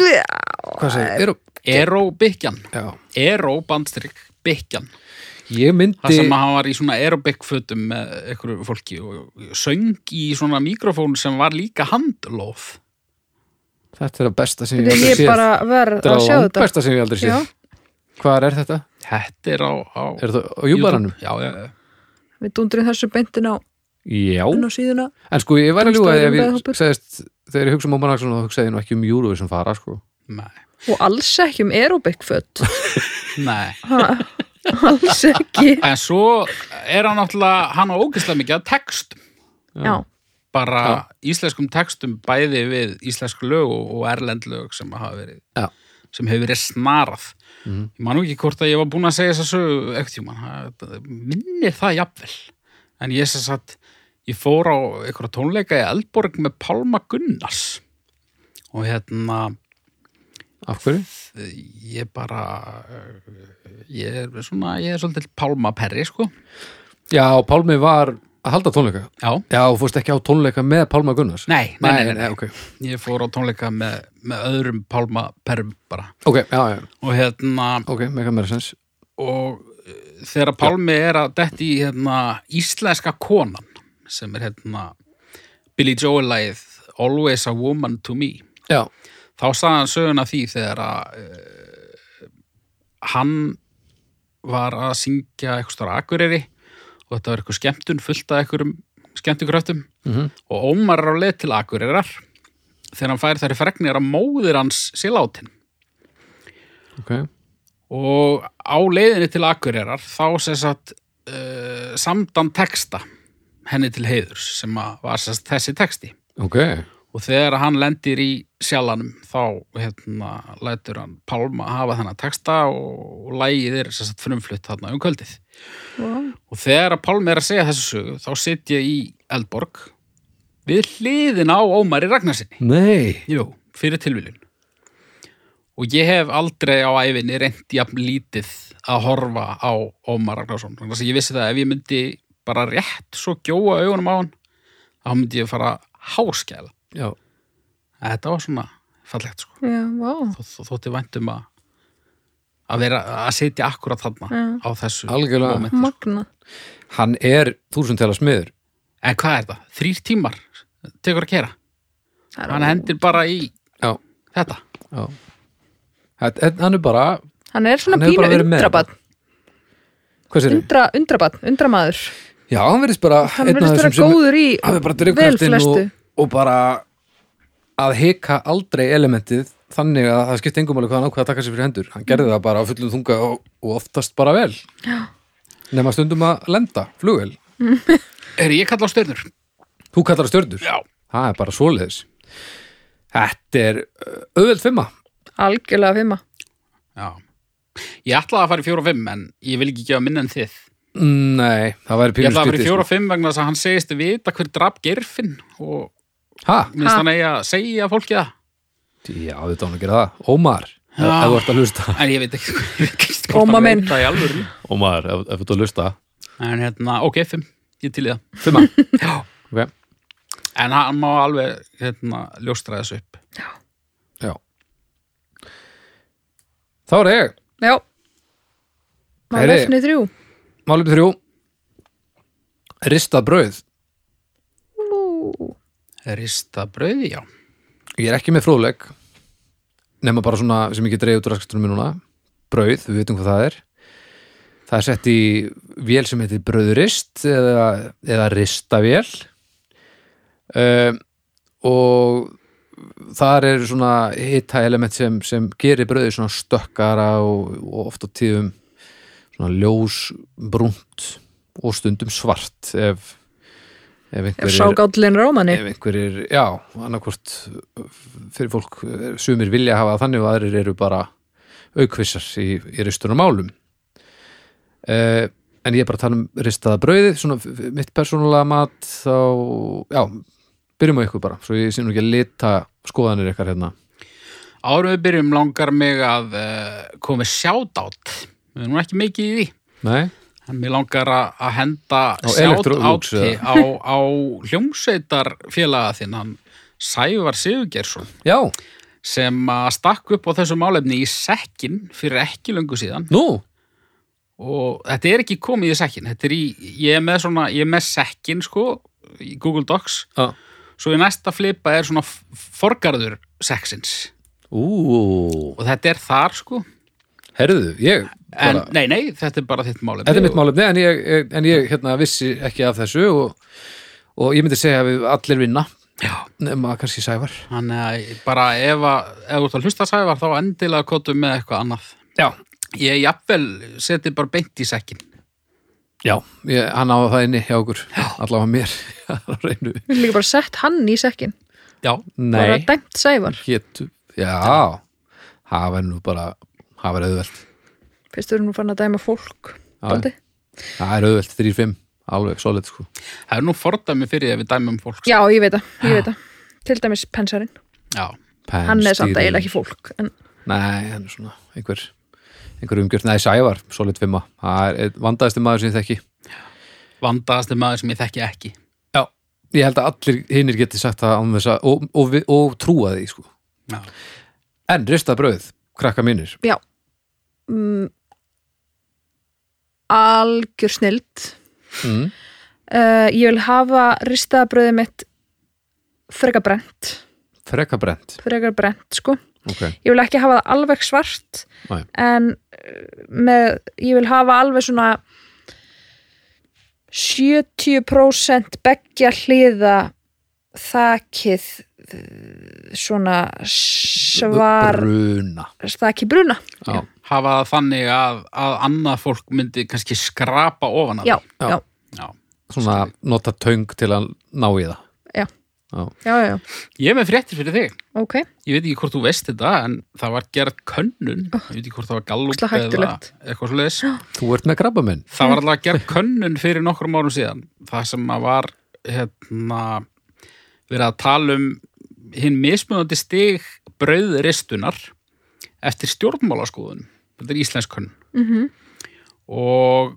Hvað segir, Eró Eró Byggjan. Já, Eró bandstrykk Byggjan. ég Það myndi sem að hann var í svona aerobic-fötum með einhverju fólki og söng í svona mikrofón sem var líka handlóð. Þetta er að besta sem ég Ég, ég séð. bara verð Þetta að sjá er að þetta besta sem ég aldrei sé Já. Hvar er þetta? Þetta er á... á Er þetta á júbaranum? YouTube. Já, já, já. Við dundrum þessu beintin á, Já inn á síðuna En sko ég væri að ljúga ef ég Tónlistarhópur. segist þegar ég hugsa um Ómar Axson þá hugsaði ég nú ekki um Eurovision fara sko Nei. og alls ekki um aerobic föt Nei. Ha, alls ekki En svo er hann náttúrulega, hann á ógeðslega mikið að textum, já, bara íslenskum textum bæði við íslensk lög og og erlend lög sem hafa verið, Já. sem hefur verið snarað. Mhm. Ég man nú ekki hvort að ég var búin að segja þess að sögu ekkert tíma, minni það jafnvel. En ég sem sagt, ég fór á einhverja tónleika í Eldborg með Pálma Gunnars og hérna, Af hverju? ég bara, eh, ég er svona, ég er svolítið Pálma Perri, sko. Já, Pálmi var að halda tónleika Já. Já, þú fórst ekki á tónleika með Pálma Gunnars Nei, nei, nei, nei, nei. ok, ég fór á tónleika með, með öðrum pálmaperum bara ok, já, já, og hérna ok, mega meira sens og eh, þegar pálmi er að detti í hérna íslenska konan sem er hérna Billy Joel lagið Always a Woman to Me Já, þá sagði hann söguna því þegar að uh, hann var að syngja eitthvað stóra akureyri og þetta var eitthvað skemmtun fullt af eitthvað skemmtukröftum Mhm. og Ómar er á leið til akureyrar þegar hann fær þær fregnir að móðir hans sé látin ok og á leiðinni til akureyrar þá sem sagt uh, samdan texta henni til heiðurs sem að var sem sagt þessi texti Ok, og þegar hann lendir í sjalanum þá hérna lætur hann Pálma hafa þennan texta og, og lægið er sem sagt frumflutt þarna um kvöldið Vá. og þegar að Pálmi er að segja þessu sögu þá sitt ég í Eldborg við hliðin á Ómari Ragnarsinni nei Jú, fyrir tilviljun og ég hef aldrei á æfinni reynt jafn lítið að horfa á Ómar Ragnarsson þannig að ég vissi það að ef ég myndi bara rétt svo gjóa augunum á hann þá myndi ég fara háskæla já, þetta var svona fallegt sko já, vá þó, þó, þótti væntum að að vera að sitja akkurat þarna Já. á þessu Algjörlega. momenti, sko. Magna, hann er þúsundtela smiður en hvað er það? þrýr tímar tekur að kera Það er hann ó- hendir bara í já, þetta já Þetta- þetta- hann er bara, hann er svona Hann hefur pínu bara verið með. undrabann hvað sér undra, undrabann, undramaður já, hann verðist bara Mm. hann einn af verðist þessum vera sem- góður í hann er bara vel drifkraftin flestu og, og bara að hika aldrei elementið þannig að það skipti engum alveg hvað hann ákveða að taka sér fyrir hendur hann Mm. gerði það bara á fullum þunga og, og oftast bara vel já. nema stundum að lenda, flugvel er ég kalla á stjörnur? þú kallar það stjörnur, já það er bara svoleiðis þetta er uh, auðveld fimma algjörlega fimma Já. Ég ætlaði að fara í fjóra og fimm en ég vil ekki gefa minna en þið. nei, það væri Ég ætlaði pínu að fara í skrítið, sko. fjóra og fimm vegna þess að hann segist vita hver drap gerfin og sko. ha, minnst Ha. hann eigi að segja fólki það. já, þetta án að gera það Ómar, ef Já. ef þú ert að hlusta En ég veit ekki, (laughs) ég veit ekki Óma hann minn. veit það í alvöru. Ómar, ef, ef þú ert að hlusta En hérna, ok, fimm, ég til í það. (laughs) fimma, Já. ok, En hann má alveg hérna, ljóstra þessu upp. já þá er ég já maður Heyri. efni þrjú Málum þrjú Ristað brauð Ú, Rista brauði, já. Ég er ekki með fróðleg Nefna bara svona sem ég get dreigð út raskastunum mér núna Brauð, við veitum hvað það er Það er sett í vél sem heitir brauðrist eða, eða ristavél um, og þar er svona hita element sem, sem gerir brauði svona stökkara og, og oft á tíðum svona ljós, brúnt og stundum svart ef, ef einhver ef sá gállin rómanni ef einhverjir, já, annarkvort fyrir fólk, sumir vilja hafa það þannig og aðrir eru bara aukvissar í, í ristunum málum uh, en ég er bara að tala um ristaða brauðið, svona f- f- mitt persónulega mat þá, já byrjum á ykkur bara, svo ég sé nú ekki að lita skoðanir ykkar hérna Árum við byrjum langar mig að uh, koma með sjátátt. Við erum nú ekki mikið í því. Nei? En mér langar að að henda Electrolux, sjátátti á, á hljómsveitar félaga þinn, hann Sævar Sigurgeirsson, Já, sem að stakk upp á þessu málefni í sekkin fyrir ekki löngu síðan nú, og þetta er ekki komið í sekkin, þetta er í, ég er með svona, ég er með sekkin sko, í Google Docs, já svo í næsta flipa er svona f- forgarður seksins Ú, og þetta er þar sko, herðu, ég en bara, nei, nei, þetta er bara þitt málefni. Þetta er og- mitt málefni, en ég, ég- en ég hérna, vissi ekki af þessu og, og ég myndi segja að við allir vinna Já. nema kannski Sævar Þannig að bara ef, að, ef þú ert að hlusta sævar þá endilega kótu með eitthvað annað. Já, Ég jafnvel seti bara beint í sekkin. já, ég, hann á það inni hjá okkur allavega mér (laughs) á reynu við erum líka bara sett hann í sekkin Já. bara Nei, dæmt sævar hétu Já, það var nú bara það var auðvelt, fyrst við erum nú fann að dæma fólk Já, dálítið. það er auðvelt 3-5, alveg solid sko Það er nú fordæmi fyrir því að við dæmum fólk. já, ég veit það, ég veit það til dæmis pensarinn, Já. Pen, hann er samt stýri- eiginlega ekki fólk en Nei, hann er svona einhver, einhver umgjörn, nei Sævar, solid 5 það er einn vandaðasti maður sem ég þekki Vandaðasti maður sem ég þekki ekki. Já, ég held að allir hinnir geti sagt það án þess að, og, og, og, og trúa því sko Já. En ristað brauð, krakka mínir já mm, algjör snild mm. uh, ég vil hafa ristaðabröðið mitt frekar brent Frekka brent, frekar brent sko ok ég vil ekki hafa það alveg svart Nei. en uh, með, ég vil hafa alveg svona 70% beggja hliða þakið uh, svona svar Bruna þakið bruna Já, Hafa það þannig að, að annað fólk myndi kannski skrapa ofan að já, Já. já, Já. svona nota töng til að ná í það já, já, já. Ég er með fréttir fyrir þig. ok Ég veit ekki hvort þú veist þetta, en það var gerð könnun. Ég veit ekki hvort það var gallup Oh. Ógeðslega eða hættulegt. eitthvað svo (gasps) leiðis. Þú ert með krabba minn Það var alltaf gerð könnun fyrir nokkrum árum síðan. Það sem að var hérna, verið að tala um hinn mismunandi stig brauðristunar eftir stjórnmálaskoðunum. Þetta er íslenskönn. Mhm. Og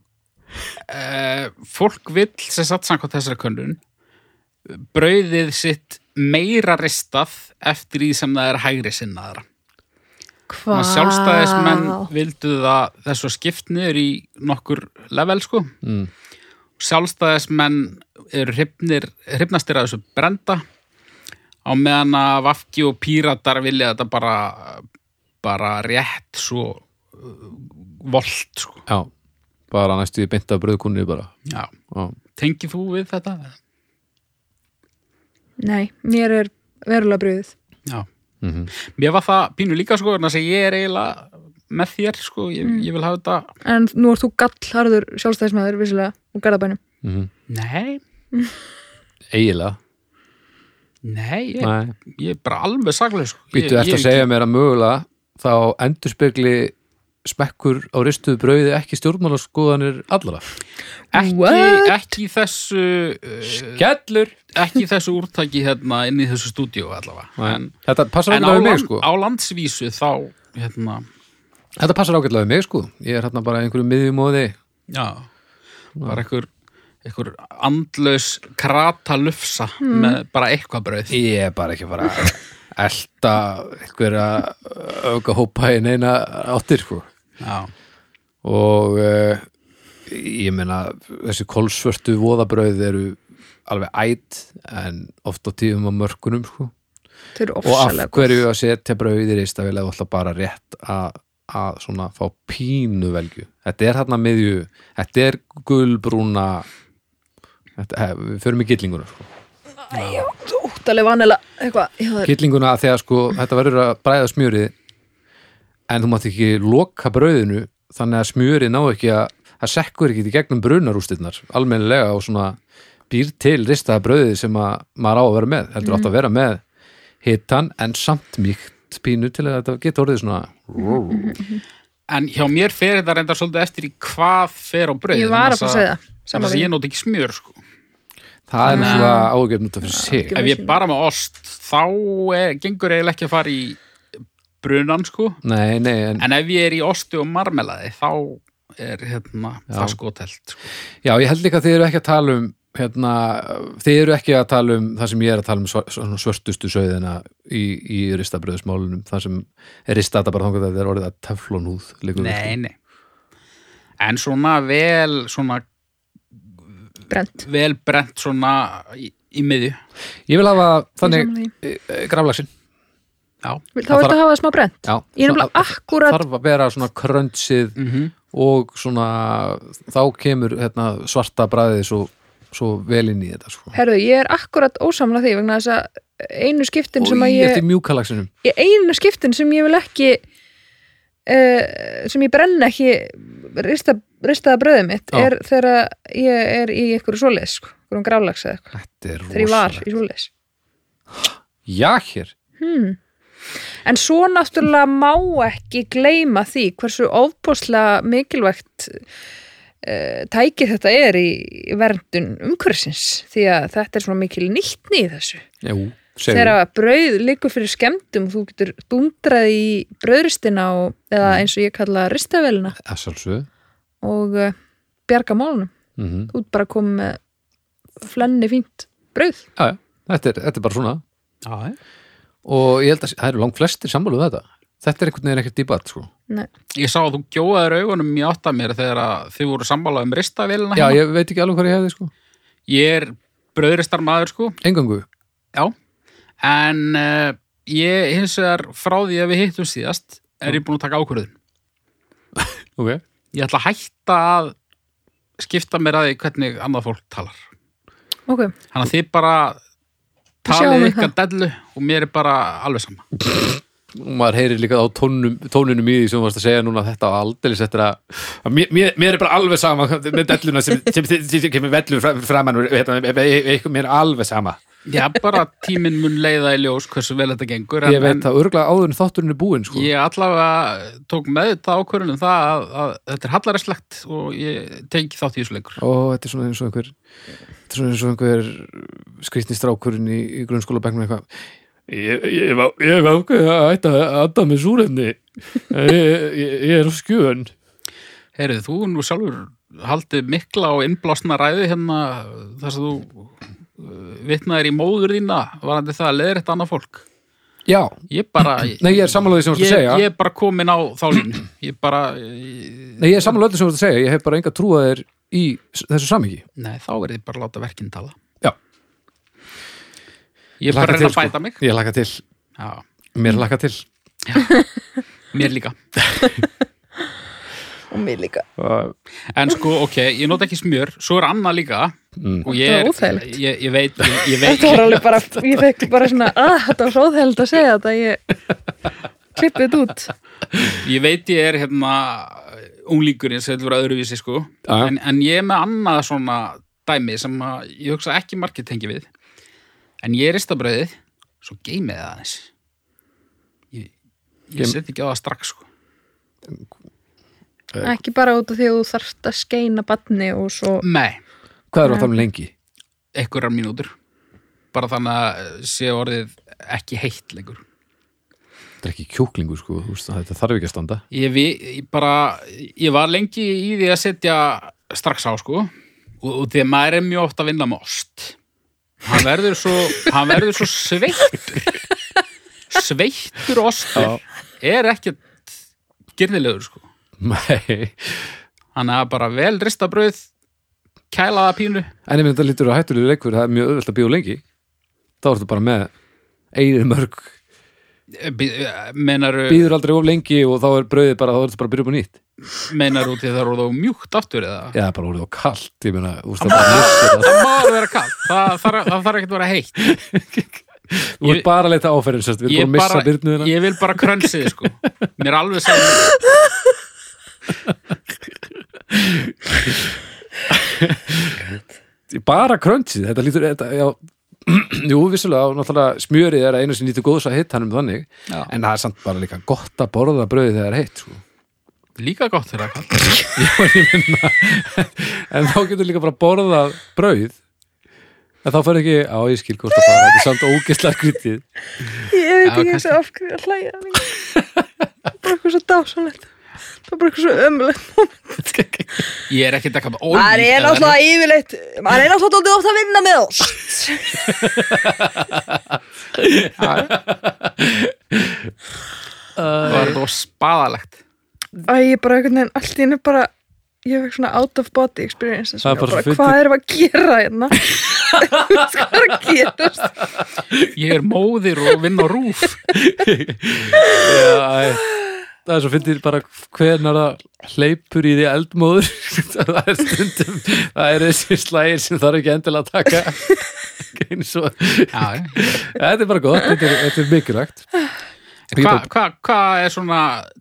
e, fólk vill sem satt samkvæmt þessari könnun brauðið sitt meira ristað eftir því sem það er hægri sinnaðara. Hvað? Sjálfstæðismenn vildu það þessu skipt niður í nokkur level sko. mm. Sjálfstæðismenn eru hrifnir, hrifnastir að þessu brenda á meðan að Vafki og Píratar vilja þetta bara, bara rétt svo uh, volt sko. Já, bara næstu í beinta bröðkunni bara Já. Já, Tengið þú við þetta? Nei, mér er verulega bröðið. Já. mm Mér var það pínu líka sko, þannig að ég er eiginlega með þér sko, ég, ég vil hafa þetta En nú ert þú gallharður sjálfstæðismæður, vissilega, úr garðabænum. Nei, eiginlega nei, ég, yeah. ég er bara alveg saglega sko. Býttu Ég- eftir ég- að segja mér að mögulega þá endurspegli smekkur á ristuðu brauði ekki stjórnmálaskoðanir allra ekki, What? ekki í þessu uh, Gellur ekki í þessu úrtaki hérna inn í þessu stúdíu allavega en, Þetta passar en á, ágætlega við mig land, sko á landsvísu þá hérna, Þetta passar ágætlega við mig sko Ég er hérna bara í einhverju miðjumóði já bara einhver, einhver andlaus krata lufsa Hmm. með bara eitthvað brauð Ég er bara ekki að fara að elta einhverja auka hópa í neina áttir sko já, og uh, ég meina þessi kolsvörtu voðabrauð eru alveg ætt en oft á tíðum á mörkunum sko. Þau eru og af ofsalega. hverju að setja brauð í ristavilega og alltaf bara rétt að að svona fá pínu velgju þetta er þarna miðju þetta er gulbrúna þetta, he, við förum í gillinguna sko. Þú óttalega vanilega eitthvað. Já, það er- gillinguna að þegar sko þetta verður að bræða smjörið en þú mátt ekki loka brauðinu þannig að smjörið ná ekki að það sekkur ekki í gegnum brunarústirnar almennilega og svona býr til ristaða brauðið sem að maður á að vera með heldur mm. átt að vera með hitan en samt mýkt pínu til að þetta geta orðið svona en hjá mér fer þetta reyndar svolítið eftir í hvað fer á brauð Ég var að fara að segja það. Saman Saman að við. ég nót ekki smjör sko. það er svona ágefn út af fyrir sig Ég Ef ég veit bara með ost þá er, gengur eiginlega ekki að fara í brunan sko. nei, nei, en en ef ég er í ostu og marmelaði þá er hérna, það skotelt sko. já, ég held líka að þið eru ekki að tala um hérna, þið eru ekki að tala um það sem ég er að tala um svar- svona svörtustu sögðina í, í ristabröðsmálunum það sem er ristata bara þangað að það er orðið að teflonhúð liggur við, Nei, nei. En svona vel, svona Brent. vel brent svona í, í miðju. sko. ég vil hafa þannig eh, Þannig, graflagsinn Já. þá ertu að hafa smá brent. já, Ég er Svona nefnilega að- akkurat þarf að vera svona kröntsið Mm og svona þá kemur hérna, svarta bræðið svo, svo vel inn í þetta sko. Herðu, ég er akkurat ósamla því vegna þess að einu skiptin sem og að í ég, eftir mjúkalagsinum ég einu skiptin sem ég vil ekki uh, sem ég brenn ekki rista, ristaða bröðið mitt Já. er þegar ég er í einhverju svoleiðis, sko, einhverjum grálags eða eitthvað, þetta er þegar ég var rosalegt. í svoleiðis já hér, En svo náttúrulega má ekki gleyma því hversu ofbúslega mikilvægt uh, tæki þetta er í verndun umhversins því að þetta er svona mikil nýttni í þessu jú, segðu þegar að brauð liggur fyrir skemmtum þú getur dundrað í brauðristina og, eða eins og ég kalla ristavelina að sjálfsögðu og uh, bjarga málunum mm -hmm. þú ert bara komið með flenni fínt brauð já, já, þetta er, þetta er bara svona Já. og ég held að það eru langt flestir sammálu um þetta þetta er einhvern veginn ekkert dýbat sko. Nei. Ég sá að þú gjóðaður augunum í átt að mér þegar að þið voru sambálað um ristavélina. já, hérna. ég veit ekki alveg hvað ég hefði sko. Ég er bröðristar maður sko, engangu, já. En uh, ég hins vegar frá því að við hittum síðast er ég búin að taka ákvörðun. ok Ég ætla að hætta að skipta mér að því hvernig annað fólk talar. ok, Þannig að þið bara sjáum talið við ykkar dellu og mér er bara alveg sama. og maður heyrir líka á tónum, tónunum í því sem þú varst að segja núna að þetta á aldeilis eftir að, að mér, mér, mér er bara alveg sama með delluna sem, sem, sem, sem, sem kemur vellur fram- framan úr, hérna, e- e- e- mér er alveg sama Já, bara tíminn mun leiða í ljós hversu vel þetta gengur ég veit það örgulega áður en þátturinn er búinn sko. ég allavega tók með þetta ákvörunum það að, að þetta er hallaræslegt og ég tengi þátt í þessu lengur og þetta er svona eins og einhver þetta er svona eins og einhver skrýtni strákurinn í, í grunnskóla bæknum eitthvað Ég, ég, hef á- ég hef ákveðið að ætta að anda með súrefni ég, ég, ég er á skjön Herið, þú nú sjálfur haldið mikla og innblásna ræðu hérna þar sem þú uh, vitnaðir í móður þína varandi það að leiðir þetta annað fólk. Já, Ég bara... (clears throat) nei ég er sammálaðið sem þú ert að ég, segja ég er bara komin á þá línu. Ég bara... Ég, Nei, ég er sammálaðið sem þú ert að segja, ég hef bara enga trúað þér í s- þessu samíki nei, þá er þið bara að láta verkinn tala. Já. Ég er bara að reyna að sko. bæta mig. Ég laka til, Já, mér laka til mér líka. og mér líka uh, En sko, ok, ég nota ekki smjör, svo er annað líka Mm. og ég er, Þetta var óþægilegt. ég, ég veit, ég, (laughs) ég veit þetta var alveg bara, ég fekk bara svona að þetta var hróðheld að segja þetta ég klippið þetta út ég veit ég er hérna unglingurinn sem þetta verið öðruvísi sko Já. en, en ég er með annað svona dæmi sem að ég hugsa ekki margir tengi við en ég rista brauðið svo geymið það aðeins ég, ég Geym- set ekki á það strax sko ekki bara út af því að þú þarft að skeina batni og svo nei, Hvað er það um lengi? einhverjar mínútur bara þannig að sé orðið ekki heitt lengur Þetta er ekki kjúklingur sko, þú veist, þetta þarf ekki að standa (laughs) Ég, vi, ég bara, ég var lengi í því að setja strax á sko og, og því að maður er mjög oft að vinna með ost hann verður svo, hann verður svo sveittur sveittur ostur er ekkert gyrnilegur sko Nei, hann er bara vel rista brauð kælaða pínu en ég minn þetta lítur að hættulegur leikur það er mjög öðvöld að bíó lengi þá ertu bara með eigið mörg Eh, meinaru, býður aldrei of lengi og þá er brauðið bara þá ertu bara að byrja upp á nýtt meinaru út í það eru þá mjúkt aftur eða Já, bara voruð þá kalt, ég meina, þú veist, það bara missir það það má alveg vera kall, það þarf það þarf ekkert að vera heitt Þú ert Ég- bara að leita áferðin, sérst, við ég, erum búin að missa byrnuðina ég vil bara krönsið sko mér er alveg saman Bara kröntið, þetta lítur, þetta, já (clears throat) Jú, vissulega, og náttúrulega smjörið er að einu sem nýtur góðs að hitt hann um þannig Já. en það er samt bara líka gott að borða brauðið þegar það er heitt, sko líka gott þegar það er kall En þá getur líka bara borðað brauð En þá fyrir ekki, á ég skil hvort að bara, þetta er samt ógeðslega skrítið ég veit Já, ekki kannski. eins og af hverju að hlæja að mér bara eitthvað svo dásanlegt það er bara eitthvað svo ömulegt ég er ekkert eitthvað ólík maður er eða- náttúrulega yfirleitt maður er náttúrulega dálítið oft að vinna með oss það var þetta spaðalegt Æ, ég bara einhvern veginn, allt í henni bara ég fekk svona out of body experience Það er svona, bara bara, svo fyndið. hvað erum við að gera hérna (laughs) hvað er að gerast ég er móðir og vinn á (laughs) rúf Já, æ. Það er svo fyndir bara hvernar það hleypur í því eldmóður (laughs) það er stundum það er þessi slægir sem þarf ekki endilega að taka (laughs) eins og já, já. þetta er bara gott, þetta er, þetta er mikilvægt Ég hvað bara- hva, hva er svona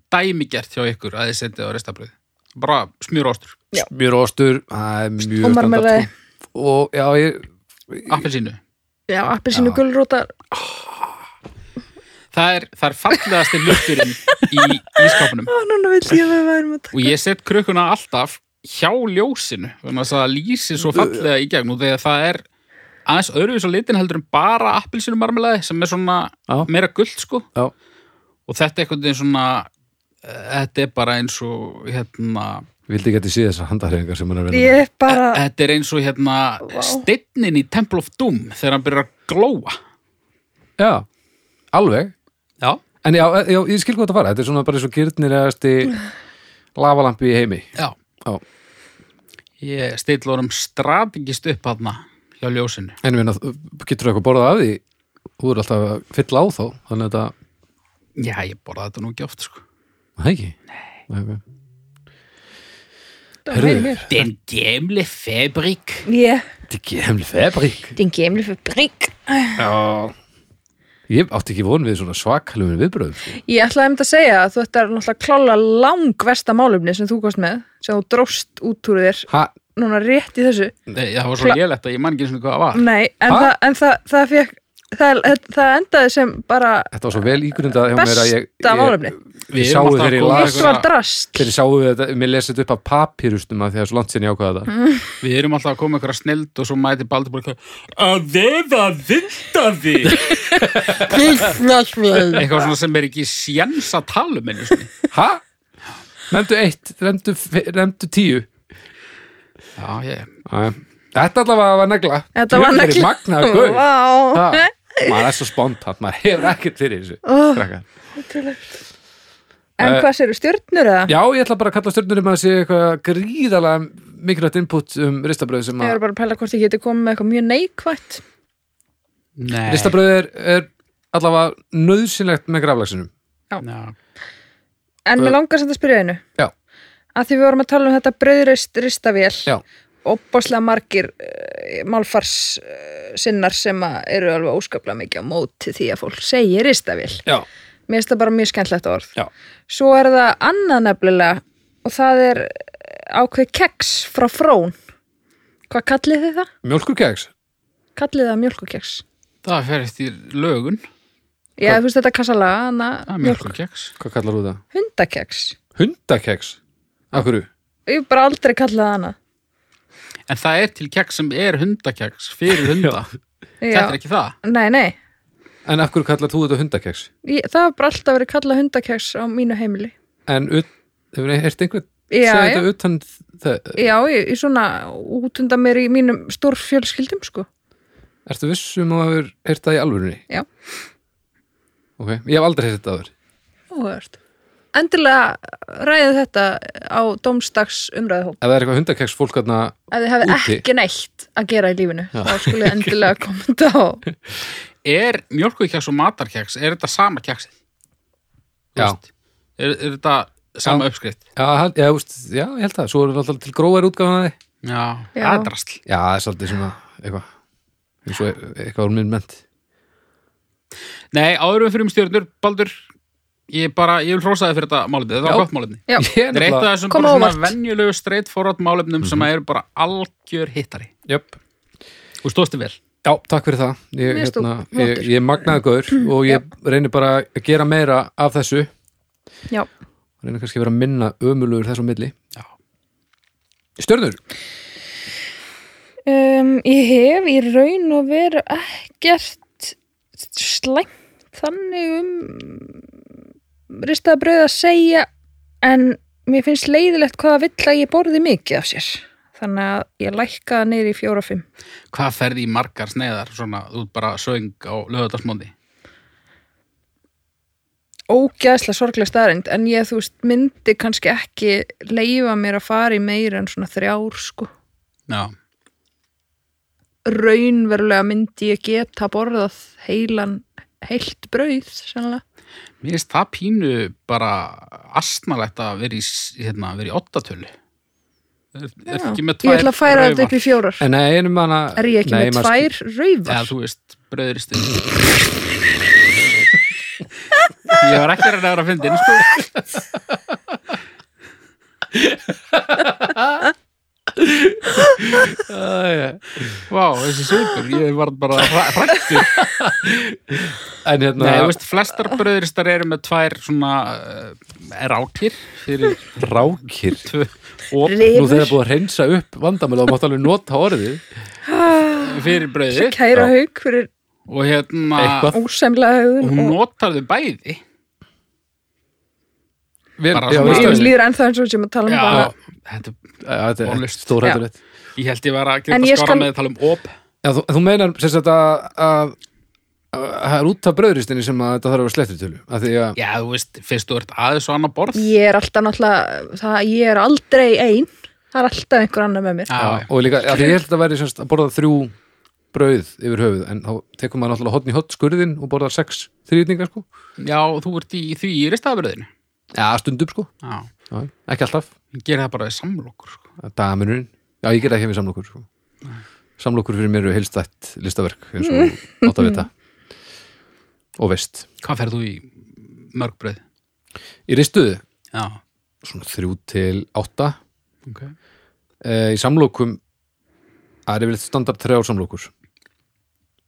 dæmigert hjá ykkur að þið setja á ristabröð bara smjúróstur, mjög rostur, það er mjög Og marmelaði. standard. og já, ég, appelsínu já, appelsínu Já. gulrótar það er, það er fallegasti hluturinn í ískapunum og núna vill ég að við værum að og ég set krökkuna alltaf hjá ljósinu þannig að það lýsi svo fallega í gegn og þegar það er aðeins öðruvís á litin heldur en bara appelsinu sem er svona Já. meira gullt sko já, og þetta er einhvern veginn svona eh, þetta er bara eins og hérna, ég vildi ekki að þið sé þessar handahreyfingar sem hann er að taka vinna ég er bara, Eh, þetta er eins og hérna Ah. Vá. steinnin í Temple of Doom þegar hann byrjar að glóa með já, alveg já, en já, já ég skil hvað það fara, þetta er svona bara svo gyrnilegasti lavalampi í heimi já. já, ég steitla honum strategist upp hann hjá ljósinu en ég meina, getur þú eitthvað borðað af því þú er alltaf að fylla á þá þannig að þetta já, ég borða þetta nú ekki oft sko Það ekki? Nei ok. það eh, heyrðu. væri mér den gemli fabrik ég, Þetta er gemli fabrik din gemli fyrir brygg Já Ég átti ekki von við svona svakalum viðbröðum sko. ég ætlaði um þetta að segja að þú þetta er náttúrulega klála langversta málumni sem þú kost með sem þú dróst út úr þér Ha, núna rétt í þessu Nei, það var svo Kla- lélegt að ég man ekki eins og hvað það var nei, en, Ha? það, en það, það fekk það, það, það endaði sem bara Þetta var svo vel ígrundað hjá mér að ég, besta málefni ég, ég sáu þegar ég það er hitt las eitthvað- var drast þegar ég sáu þetta, mér lesið upp af papírustum að því að svo langt sér ég ákvaða Mm. það Við erum alltaf að koma ykkur að snild og svo mæti Baldur bara að veða vindaði (laughs) eitthvað svona sem er ekki sjens að tala um einu sinni. Hæ? Nefndu eitt, nefndu, fi- nefndu tíu Já, ég Æ. Þetta allavega var negla þetta var Djöfull er ég magnaður gaur. Vá. Ha, maður er svo spontant, maður hefur ekkert fyrir þessu krakkar. en Eh, hvað séru stjörnur eða? Já, ég ætla bara að kalla stjörnur um að sé eitthvað gríðalega mikilvægt input um ristabröð sem ég að var bara að pæla hvort ég geti komið með eitthvað mjög neikvætt Nei ristabröð er, er allavega nöðsynlegt með graflagsinum Já. en mér langar sem þetta spyrja einu Já. að því við vorum að tala um þetta brauðrist ristavél Já, opbáslega margir uh, málfars uh, sinnar sem að eru alveg óskaplega mikið á móti því að fólk segir ristavél já, mér finnst það bara mjög skemmtlegt orð já svo er það annað nefnilega og það er eh, ákveð keks frá frón hvað kallið þið það? Mjölkurkeks kallið það mjölkukeks Það fer eftir lögun já, þú veist þetta kassalaga annað Það er mjölk- mjölkukeks Hvað kallar þú það? hundakeks Hundakeks Af hverju? ég hef bara aldrei kallað það annað En það er til keks sem er hundakeks fyrir hunda Þetta er já. ekki það nei, nei, En af hverju kallar þú þetta hundakeks? ég, það hefur bara alltaf verið kallað hundakeks á mínu heimili En ut, hefur þið heyrt einhvern Já, segja já. þetta utan það já, ég, ég svona út undan mér í mínum stórfjölskyldum sko Ertu viss um að hefur heyrt það í alvörunni? Já. Ok, ég hef aldrei heyrt þetta aður Óhört. endilega ræðið þetta á domstags umræðahóp Ef það er eitthvað hundakeks fólk þarna að þið hefði Úti. ekki neitt að gera í lífinu þá skulle þið endilega kommenta á Er mjölkukeks og matarkeks Er þetta sama keksið? Þú Já. veist, Er, er þetta sama uppskrift? Já, hann- já, úst, já, ég held það, svo eru alltaf til gróðar útgáfanaði Já, Já. það er drasl Já, það er svolítið svona eitthvað eins og e- eitthvað úr minn ment Nei, áðurum fyrir um stjórnur, Baldur Ég bara, ég vil hrósa þið fyrir þetta málefni Þetta Já. var gott málefni Já, (laughs) Ég er Þetta er eitt af nefnilega, þessum Kom bara svona óvart. venjulegu streitt forrátt málefnum sem eru bara algjör hittari jöp Þú stóðst þið vel Já, takk fyrir það Ég, Mér stóð hérna, flottur. Mm, ég, ég magnaði gaur og ég reyni bara að gera meira af þessu já. reyni kannski að vera minna ömulugur þessu á milli Já. Stjörnur, Um, ég hef í raun og veru ekkert slæmt þannig um ristaða brauð að segja en mér finnst leiðilegt hvaða vill að ég borði mikið af sér þannig að ég lækkaði neyri í fjóra og fimm Hvað ferði í margar sneiðar svona, þú ert bara söng á lögðardagsmóndi ógæðslega sorglega staðrind en ég þú veist myndi kannski ekki leifa mér að fara í meira en svona þrjár sko Já, raunverulega myndi ég geta borðað heilan heilt brauð sannlega. mér finnst það pínu bara astnalegt að vera í, s- hérna, vera í ottatölu Er, er Já. ekki með ég tvær ætla að færa þetta upp raufar? í fjórar en nei, einum hana er ég ekki með tvær Eða raufar þú veist, bröðristu Ég var ekki að reyna að vera að fyndi sko. En Vá, þessi svipur, ég var bara hrættur hérna Nei, þú veist, flestar bröðristar eru með tvær svona uh, rákir fyrir rákir (laughs) tvö og Nú þegar rifur, búið að reynsa upp vandamölu og mátt alveg nota orðið fyrir bröði kæra haug fyrir og hérna Eitthvað. og ósemlega haugðun hún og notar þau bæði Vel, Bara já, svona- veist ég það. líður ennþá eins og sem að tala um Já, bara þetta, Já, þetta er Vonlaust. stórhættulegt ég held ég var að geta En ég skara skal- með að tala um op Já, þú, þú meinar sem sagt að að að það er út af bröðristinni sem að þetta þarf að vera slettur tölu að því að, Já, þú veist, fyrst þú ert aðeins og annað borð ég er alltaf náttúrulega það, ég er aldrei ein það er alltaf einhver annar með mér Já, já, og líka, að því ég held að það væri sem sagt að borða þrjú brauð yfir höfuð en þá tekur maður náttúrulega hotn í hotn skurðin og borðar sex þrýðningar sko já, þú ert í því í ristaðabröðinu Já, stundum sko, Já, já, ekki alltaf ég ger það bara í samlokur sko. dagamurinn, já ég gerði ekki við samlokur sko. samlokur fyrir mér eru heilstætt listaverk eins og átt að (laughs) vita og veist Hvað ferð þú í mörg bröð? Í ristuðu, Já, svona þrjú til átta ok e, í samlokum það er yfirleitt standard þrjár samlokur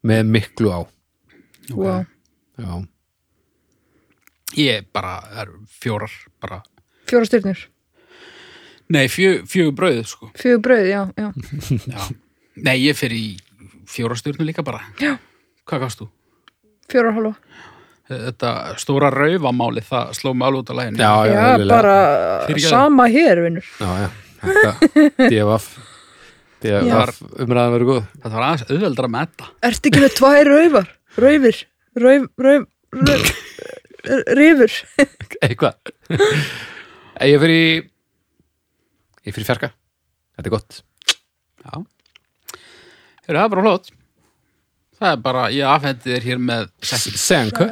með miklu á wow. já, Ég bara, það eru fjórar bara. Fjóra styrnur, Nei, fjö, fjögur brauð, sko. fjögur brauð, já, já. Já. Nei, ég fer í fjóra stjórnu líka bara. Já. Hvað gafst þú? fjóra og hálfa Þetta stóra raufamáli, það sló mig alveg út af læginu. já, já, Já, eðlilega. bara Fyrirgefðu. sama hér, vinnur já, já. Þetta, DFF DFF umræðan verið góð Þetta var aðeins auðveldra með þetta. Ertu ekki með tvær raufar? Raufir? Rauf, rauf, rauf (laughs) Rifur? eitthvað Eh, ég fyrir í ég fyrir í fjarka, þetta er gott Já. Heyrðu, það er bara hlót. Það er bara, ég afhendi þér hér með sekki. Senka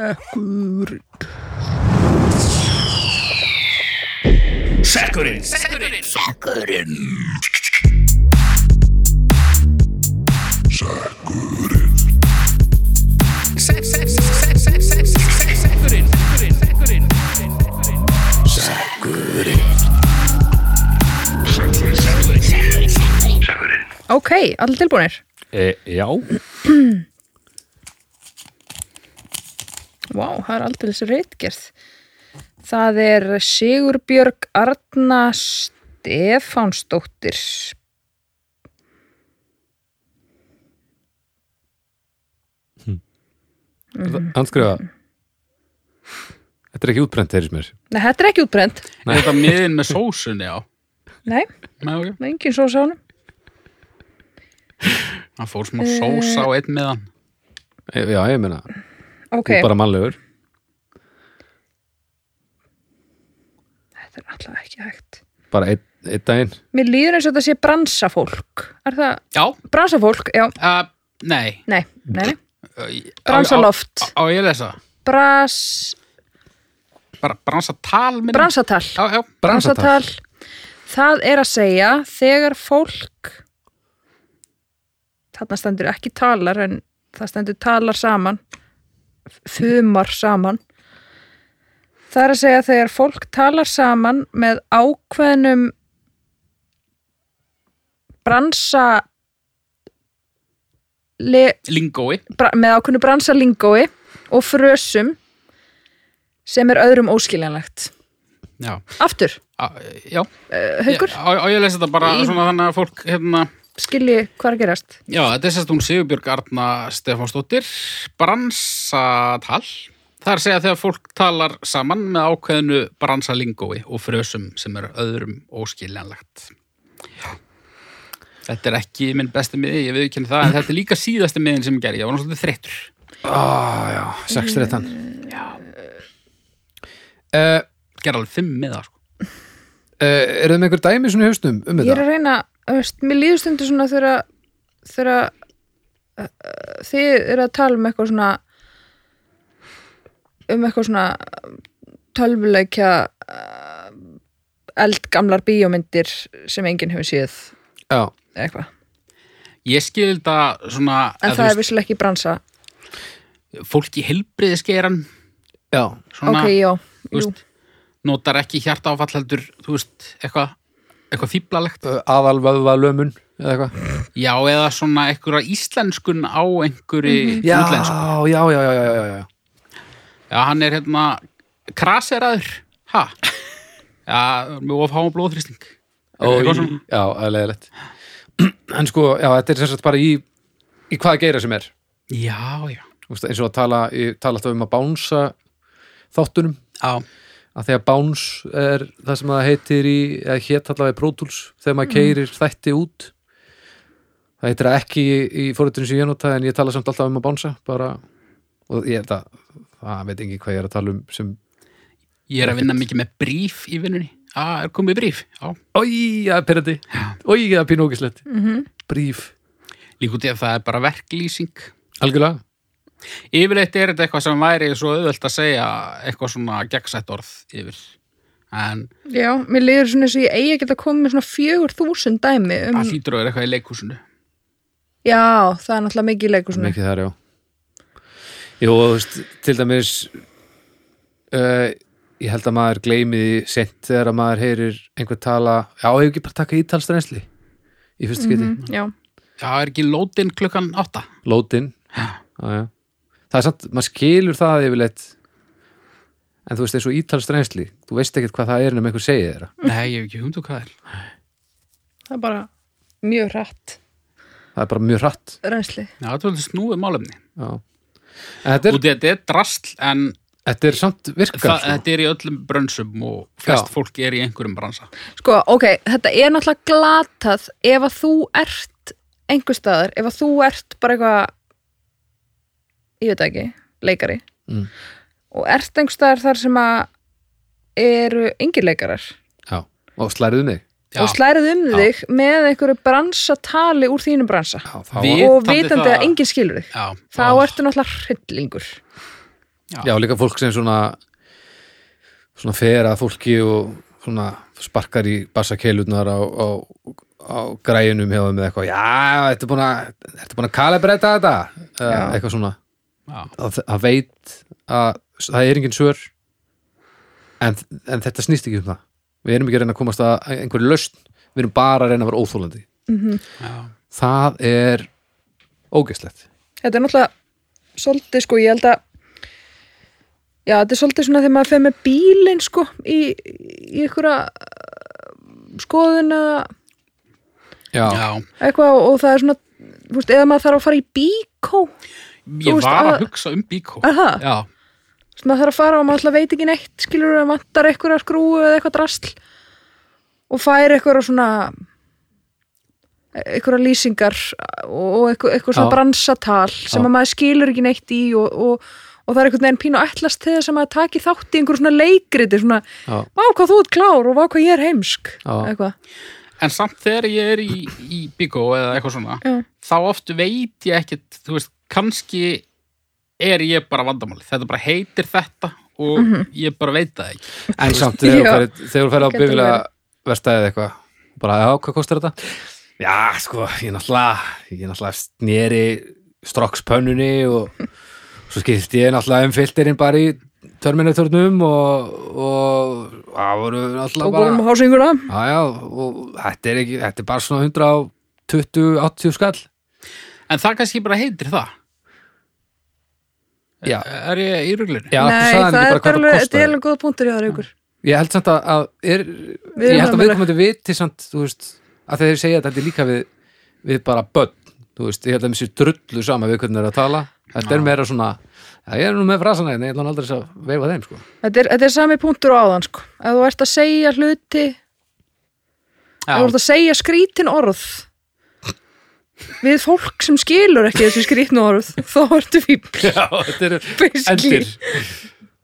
Ok, allir tilbúinir e, já, Vá, það er aldrei þessi reitgerð Það er Sigurbjörg Arna Stefánsdóttir handskrifa þetta er ekki útbrent þeirri sem er Nei, þetta er ekki útbrend (laughs) Er þetta miðin með sósunni á? Nei, Nei, ok. með engin svo sánum Það fór Eh. smá sósa á einn miðan. e, já, ég meina, Ok, þú er bara mannlegur þetta er alltaf ekki hægt bara einn ein daginn Mér líður eins og þetta sé bransafólk Er það Já, bransafólk? Já, uh, nei. nei, nei, nei. Ö, Bransaloft Á, á, á ég að lesa? Bras, Bara bransatal minni? bransatal Já, já. bransatal það er að segja þegar fólk þarna stendur ekki talar en það stendur talar saman fumar saman það er að segja þegar fólk talar saman með ákveðnum bransa le, Lingói. bra, með ákveðnu bransalingói og frösum sem er öðrum óskiljanlegt Já. aftur, Á, já. eh, haukur? Já, Á, á ég að lesa þetta bara Í- svona þannig að fólk, hérna... skilji hvað er að gerast Já, þetta er sérst hún Sigurbjörg Arna Stefánsdóttir, bransatal. Það er að segja þegar fólk talar saman með ákveðinu bransalingói og frösum sem er öðrum óskiljanlegt. Þetta er ekki minn besti miði, ég viðkynna það, en þetta er líka síðasti miðin sem ég gerði, ég var náttúrulega þreyttur. ah, já, 6-13 já Gerði alveg fimm miða, sko. Eh, eru þið með einhver dæmi svona í hausnum um ég er þetta? að reyna, þú veist, mér líður stundu svona þegar að- þegar að, uh, uh, þið eru að tala um eitthvað svona um eitthvað svona tölvuleikja uh, eldgamlar bíómyndir sem enginn hefur séð Já, eða eitthvað, Ég skil þetta svona, en að það þú er vissilega ekki bransa veist, fólk í heilbriðiskeiran, já, svona, ok, já, þú jú, veist, notar ekki hjarta heldur, þú veist, eitthvað, eitthvað fíblalegt. aðalvöðva lömun Eh, eða eitthvað Já, eða svona einhverja íslenskun á einhverju já, útlensku. já, já, já, já, já, já. Já, hann er hérna kraseraður. Ha? Já, mjög of háum blóðþrýsting. og Eitthvað í, svona. já, það er leiðilegt (clears throat) en sko, já, þetta er sem sagt bara í í hvaða geira sem er Já, já. Þú veist, eins og að tala, ég tala alltaf um að bánsa þáttunum, Já, að því að báns er það sem það heitir í, eða hétt allavega í Pro Tools, þegar maður keirir þætti út það heitir það ekki í, í fórhættinu sem ég nota en ég tala samt alltaf um að bánsa bara, og ég held að það veit ekki hvað ég er að tala um sem, ég er að vinna mikið með bríf í vinnunni. Já, er komið bríf. Já, oi, það er pyrrandi oi, það er pínókislegt mm -hmm. bríf, líka út í að það er bara verklýsing. algjörlega Yfirleitt er þetta eitthvað sem væri svo auðvelt að segja eitthvað svona gegnsætt orð yfir. En já mér líður svona eins og ég eigi að geta komið með svona fjögur þúsund dæmi um, það hlýtur að vera eitthvað í leikhúsinu. já, það er náttúrulega mikið leikur svona, mikið þar, já Jú, og þú veist, til dæmis uh, ég held að maður gleymi því sent þegar að maður heyrir einhver tala, já, hefur ekki bara taka ítalsrensli í Mhm. fyrstu skiti, mm já, Já, er ekki lótin klukkan átta? lótin Já. já, já. það er samt, maður skilur það yfirleitt en þú veist eins og ítalst reynsli þú veist ekkert hvað það er nema einhver segið þeirra Nei, ég hef ekki hugmynd um hvað það er. það er bara mjög hratt það er bara mjög hratt reynsli Já, þetta er alveg snúið málefni. já. en þetta Og er, þetta er drasl, en þetta er samt virkað það, sko. þetta er í öllum brönsum og flest Já. fólk er í einhverjum bransa. Sko, ok, þetta er náttúrulega glatað ef að þú ert einhver staðar, ef að þú ert bara eitthvað ég veit það ekki, leikari Mm. og ert einhver staðar þar sem að eru yngir leikarar já. og slæriðu mig Já, og slærið um Já. þig með einhverju bransatali úr þínu bransa já, Við- þá, og Vitandi vitandi það- að enginn skilur þig já. þá Ó, ertu náttúrulega hryllingur já, líka fólk sem svona svona fer að fólki og svona sparkar í bassakeilurnar á, á, á græjunum hjá þeim eða eitthvað, já, þetta er búin að þetta er búin að kalibreita þetta eða Já. eitthvað svona Já, að, að veit að það er engin svör en, en þetta snýst ekki um það við erum ekki að reyna að komast að einhverju löst við erum bara að reyna að vera óþólandi Mhm. já. það er ógeðslegt þetta er náttúrulega svolítið sko, ég held að já, þetta er svolítið svona þegar maður fer með bílinn sko í, í einhverja uh, skoðun eða já, já. eitthvað og það er svona þú veist, eða maður þarf að fara í bíkó þú Ég veist, var að- að hugsa um bíkó. Er það? Já, veist, maður þarf að fara og maður alltaf veit ekki neitt skilur að vantar einhverja skrúu eða eitthvað drasl og fær einhverja svona einhverja lýsingar og einhver, einhver svona Já. bransatal sem Já. að maður skilur ekki neitt í og, og, og það er einhvern veginn pínu ætlast til þess að maður taki þátt í einhverju svona leikriti svona, já, vá hvað þú ert klár og vá hvað ég er heimsk Já. eitthvað, en samt þegar ég er í, í bíkó eða eitthvað svona, Já. þá oft veit ég ekkit, þú veist, kannski er ég bara vandamáli. Þetta bara heitir þetta og Mhm. ég bara veit það ekki. en samt þegar þú Já. ferð- þegar þú ferð á Getur bifila verstaðið eitthvað bara, já, hvað kostar þetta? já, sko, ég náttúrulega ég náttúrulega sneri strokkspönnunni og svo skilti ég náttúrulega um filterinn bara í törminutörnum og, og það voru náttúrulega og góðum bara hásinguna já, já, og þetta er ekki, þetta er bara svona 120, 80 skall En það kannski bara heitir það. já, Er ég í ruglunni? já, nei, þú það sagði ekki er bara hvað bara það þetta er kostaði alveg góð punktur í aðra ykkur ég held samt að, að er, Við ég erum held að alveg- viðkomandi viti samt, þú veist, að þeir segja að þetta er líka við, við bara börn þú veist, ég held að mér sér drullu sama við hvernig þeir eru að tala, þetta er meira svona já, ég er nú með frasanæðin, ég ætla hann aldrei þess að veifa þeim, sko, þetta er, þetta er sami punktur á áðan sko. ef þú ert að segja hluti Það voru að segja skrítin orð við fólk sem skilur ekki þessi skrítin orð þá ertu fíbl (laughs) já, þetta eru Basically. (laughs) endir,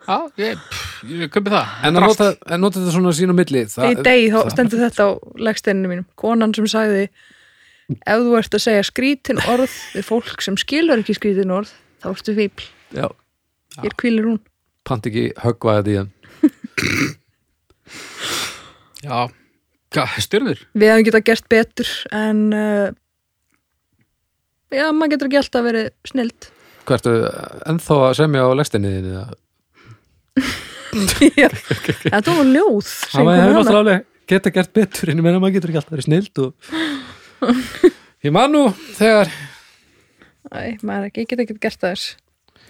Já, ég, pff, ég köpi það. en að Drast. nota, en nota þetta svona sín á milli, í það, degi þá stendur þetta á legsteininu mínum konan sem sagði ef þú ert að segja skrítin orð við fólk sem skilur ekki skrítin orð þá ertu fíbl, já, hér kvílir hún pant ekki höggva þetta í hann Já, Hva- styrður. við hefum getað gert betur en uh, já, maður getur ekki alltaf verið snild (laughs) Hvertu, ennþá að semja á legstinni þinni eða? en þú var ljóð sem Það kom hefur hana. náttúrulega alveg geta gert betur en ég meina maður getur ekki alltaf verið snild og (laughs) ég man nú þegar Æ, maður ekki, ég get ekki gert það þess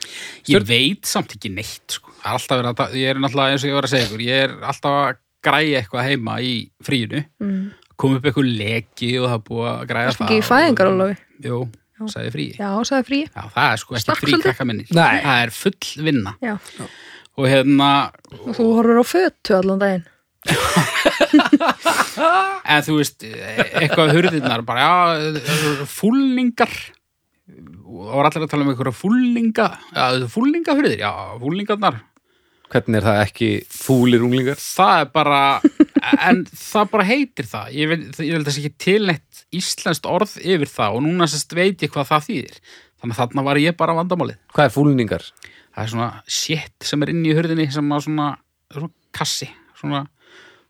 Ég Stjörn- veit samt ekki neitt, sko. Það er Alltaf verið að, ta- ég er náttúrulega eins og ég var að segja ykkur, ég er alltaf að græja eitthvað heima í fríinu, mm. kom upp eitthvað leki og það er búið að græja Ertu ekki í fæðingarólöfi? Jú, sagði frí. Já. já, sagði frí það er sko ekki Stakk frí svolítið? krakka minni. Nei. Það er full vinna. já Og hérna, Og þú horfur á fötu allan daginn. en þú veist, e- eitthvað hurðirnar, bara, já, fúlningar. Og það var allir að tala um eitthvað fúlninga, já, fúlningahurðir, já, fúlningarnar. hvernig er það ekki fúlir unglingar það er bara (laughs) en það bara heitir það ég veit, ég veit þess ekki tilnett íslenskt orð yfir það og núna sérst veit ég hvað það þýðir þannig að þarna var ég bara vandamálið hvað er fúlningar? það er svona shit sem er inn í hurðinni sem að svona, svona kassi svona,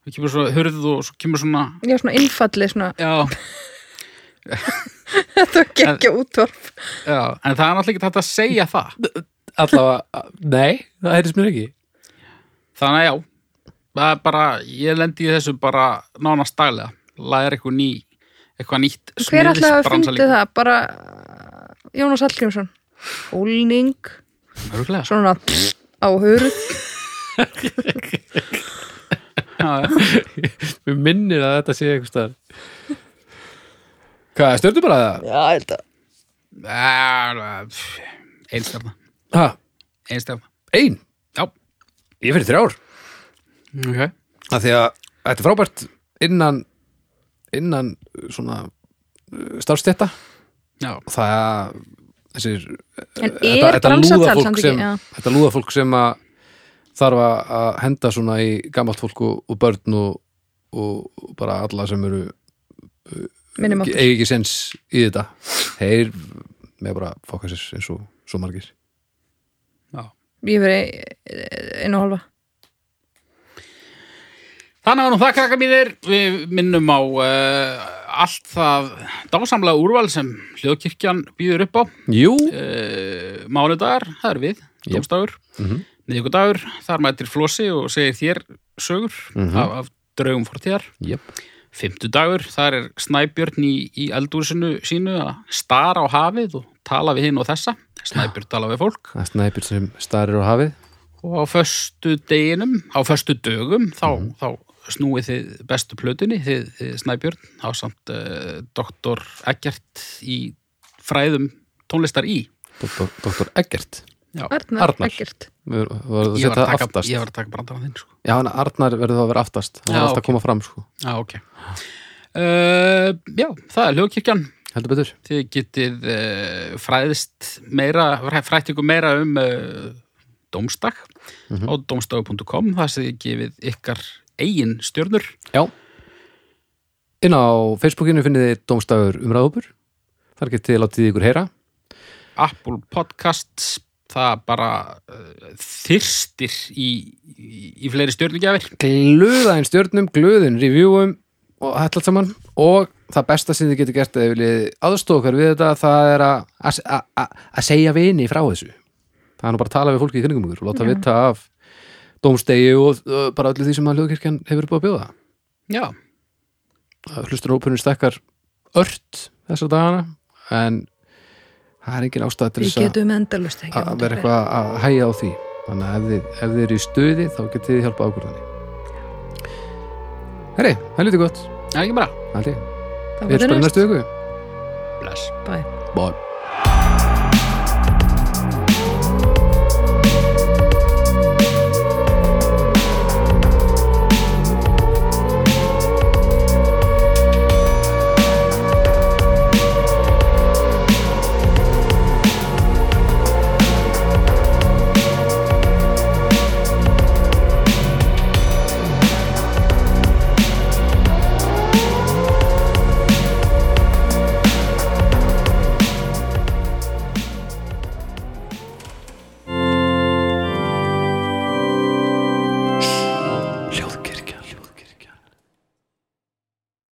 það kemur svona hurð og svo kemur svona Ég var svona innfallið svona, já, (laughs) þetta var gekkja útvarp. já, en það er náttúrulega ekki hægt að segja það allavega, nei, það heyrðist mér ekki þannig að já, það er bara ég lendi í þessu bara nánast daglega læðir eitthvað ný eitthvað nýtt Hver ætlaði að hafa smiðisbransalíka. fundið það? Bara uh, Jónas Hallgrímsson. Hólning, Örgulega svona á hörð Við minnir að þetta sé eitthvað staðar Hvað, stjórnum bara það? já, ég held að Einstafna Ha, Einstafna ein, Já, ég fyrir þrjár ok að því að þetta er frábært innan innan uh, svona starfstetta Já, það þessir en þetta, er þetta bransatal lúðafólk samt ekki sem já. þetta lúðafólk sem að þarf að- að henda svona í gamalt fólk og, og börn og, og bara alla sem eru minnum okkur eigi ekki sens í þetta heyr með bara fókasins eins og svo margir já ég verið eh, einu og halva Þannig að nú það krakka mínir, við minnum á uh, allt það dásamlega úrval sem hljóðkirkjan býður upp á. Jú, Uh, mánudagar, það er við, domstagur, Mhm. miðvikudagur, þar mætir flosi og segir þér sögur Mhm. af, af draugum fortíðar. jöp Fymtudagur, þar er Snæbjörn í, í eldúrsinu sínu að stara á hafið og tala við hinn og þessa. Snæbjörn tala við fólk. það er snæpir sem starir á hafið og Sko, á föstu deginum á föstu dögum þá, Mhm. þá snúið þið bestu plötunni þið, þið Snæbjörn á samt uh, doktor Eggert í fræðum tónlistar í Doktor, doktor Eggert Já, Arnar, Arnar. ekkert Við varum ég að var setja að taka, aftast ég var að taka brandarann þinn sko. Já, hann Arnar verður þá að vera aftast Hann Já, er ok. alltaf að koma fram, sko Já, Ah, ok uh, Já, það er hljókirkjan Heldur betur þið getið uh, fræðist meira, frætt ykkur meira um uh, domstak Mhm. á domstag.com það sem þið gefið ykkar eigin stjörnur Já Inn á Facebookinu finnið þið Dómstafur umræðhópur Þar getið þið látið ykkur heyra Apple Podcasts það bara uh, þyrstir í, í, í fleiri stjörnugjafir Glöða einn stjörnum, glöðin reviewum og þetta allt saman og það besta sem þið getur gert eða viljið aðstoð okkar við þetta það er að- að að- að- að segja vini frá þessu það er nú bara að tala við fólki í kringum ykkur og láta vita af dómstegi og uh, bara öllu því sem að hljóðkirkjan hefur búið að bjóða Já, hlustunarhópurinn stekkar ört þessar dagana en það er engin ástæð til við þess að- getum endalust ekki að vera eitthvað að hægja á því þannig að ef þið, ef þið eru í stuði þá getið þið hjálpa ákvörðan Herri, það er lítið gott það er ekki bara Haldi, það var við erum spennast næst viku Bless bæ Bye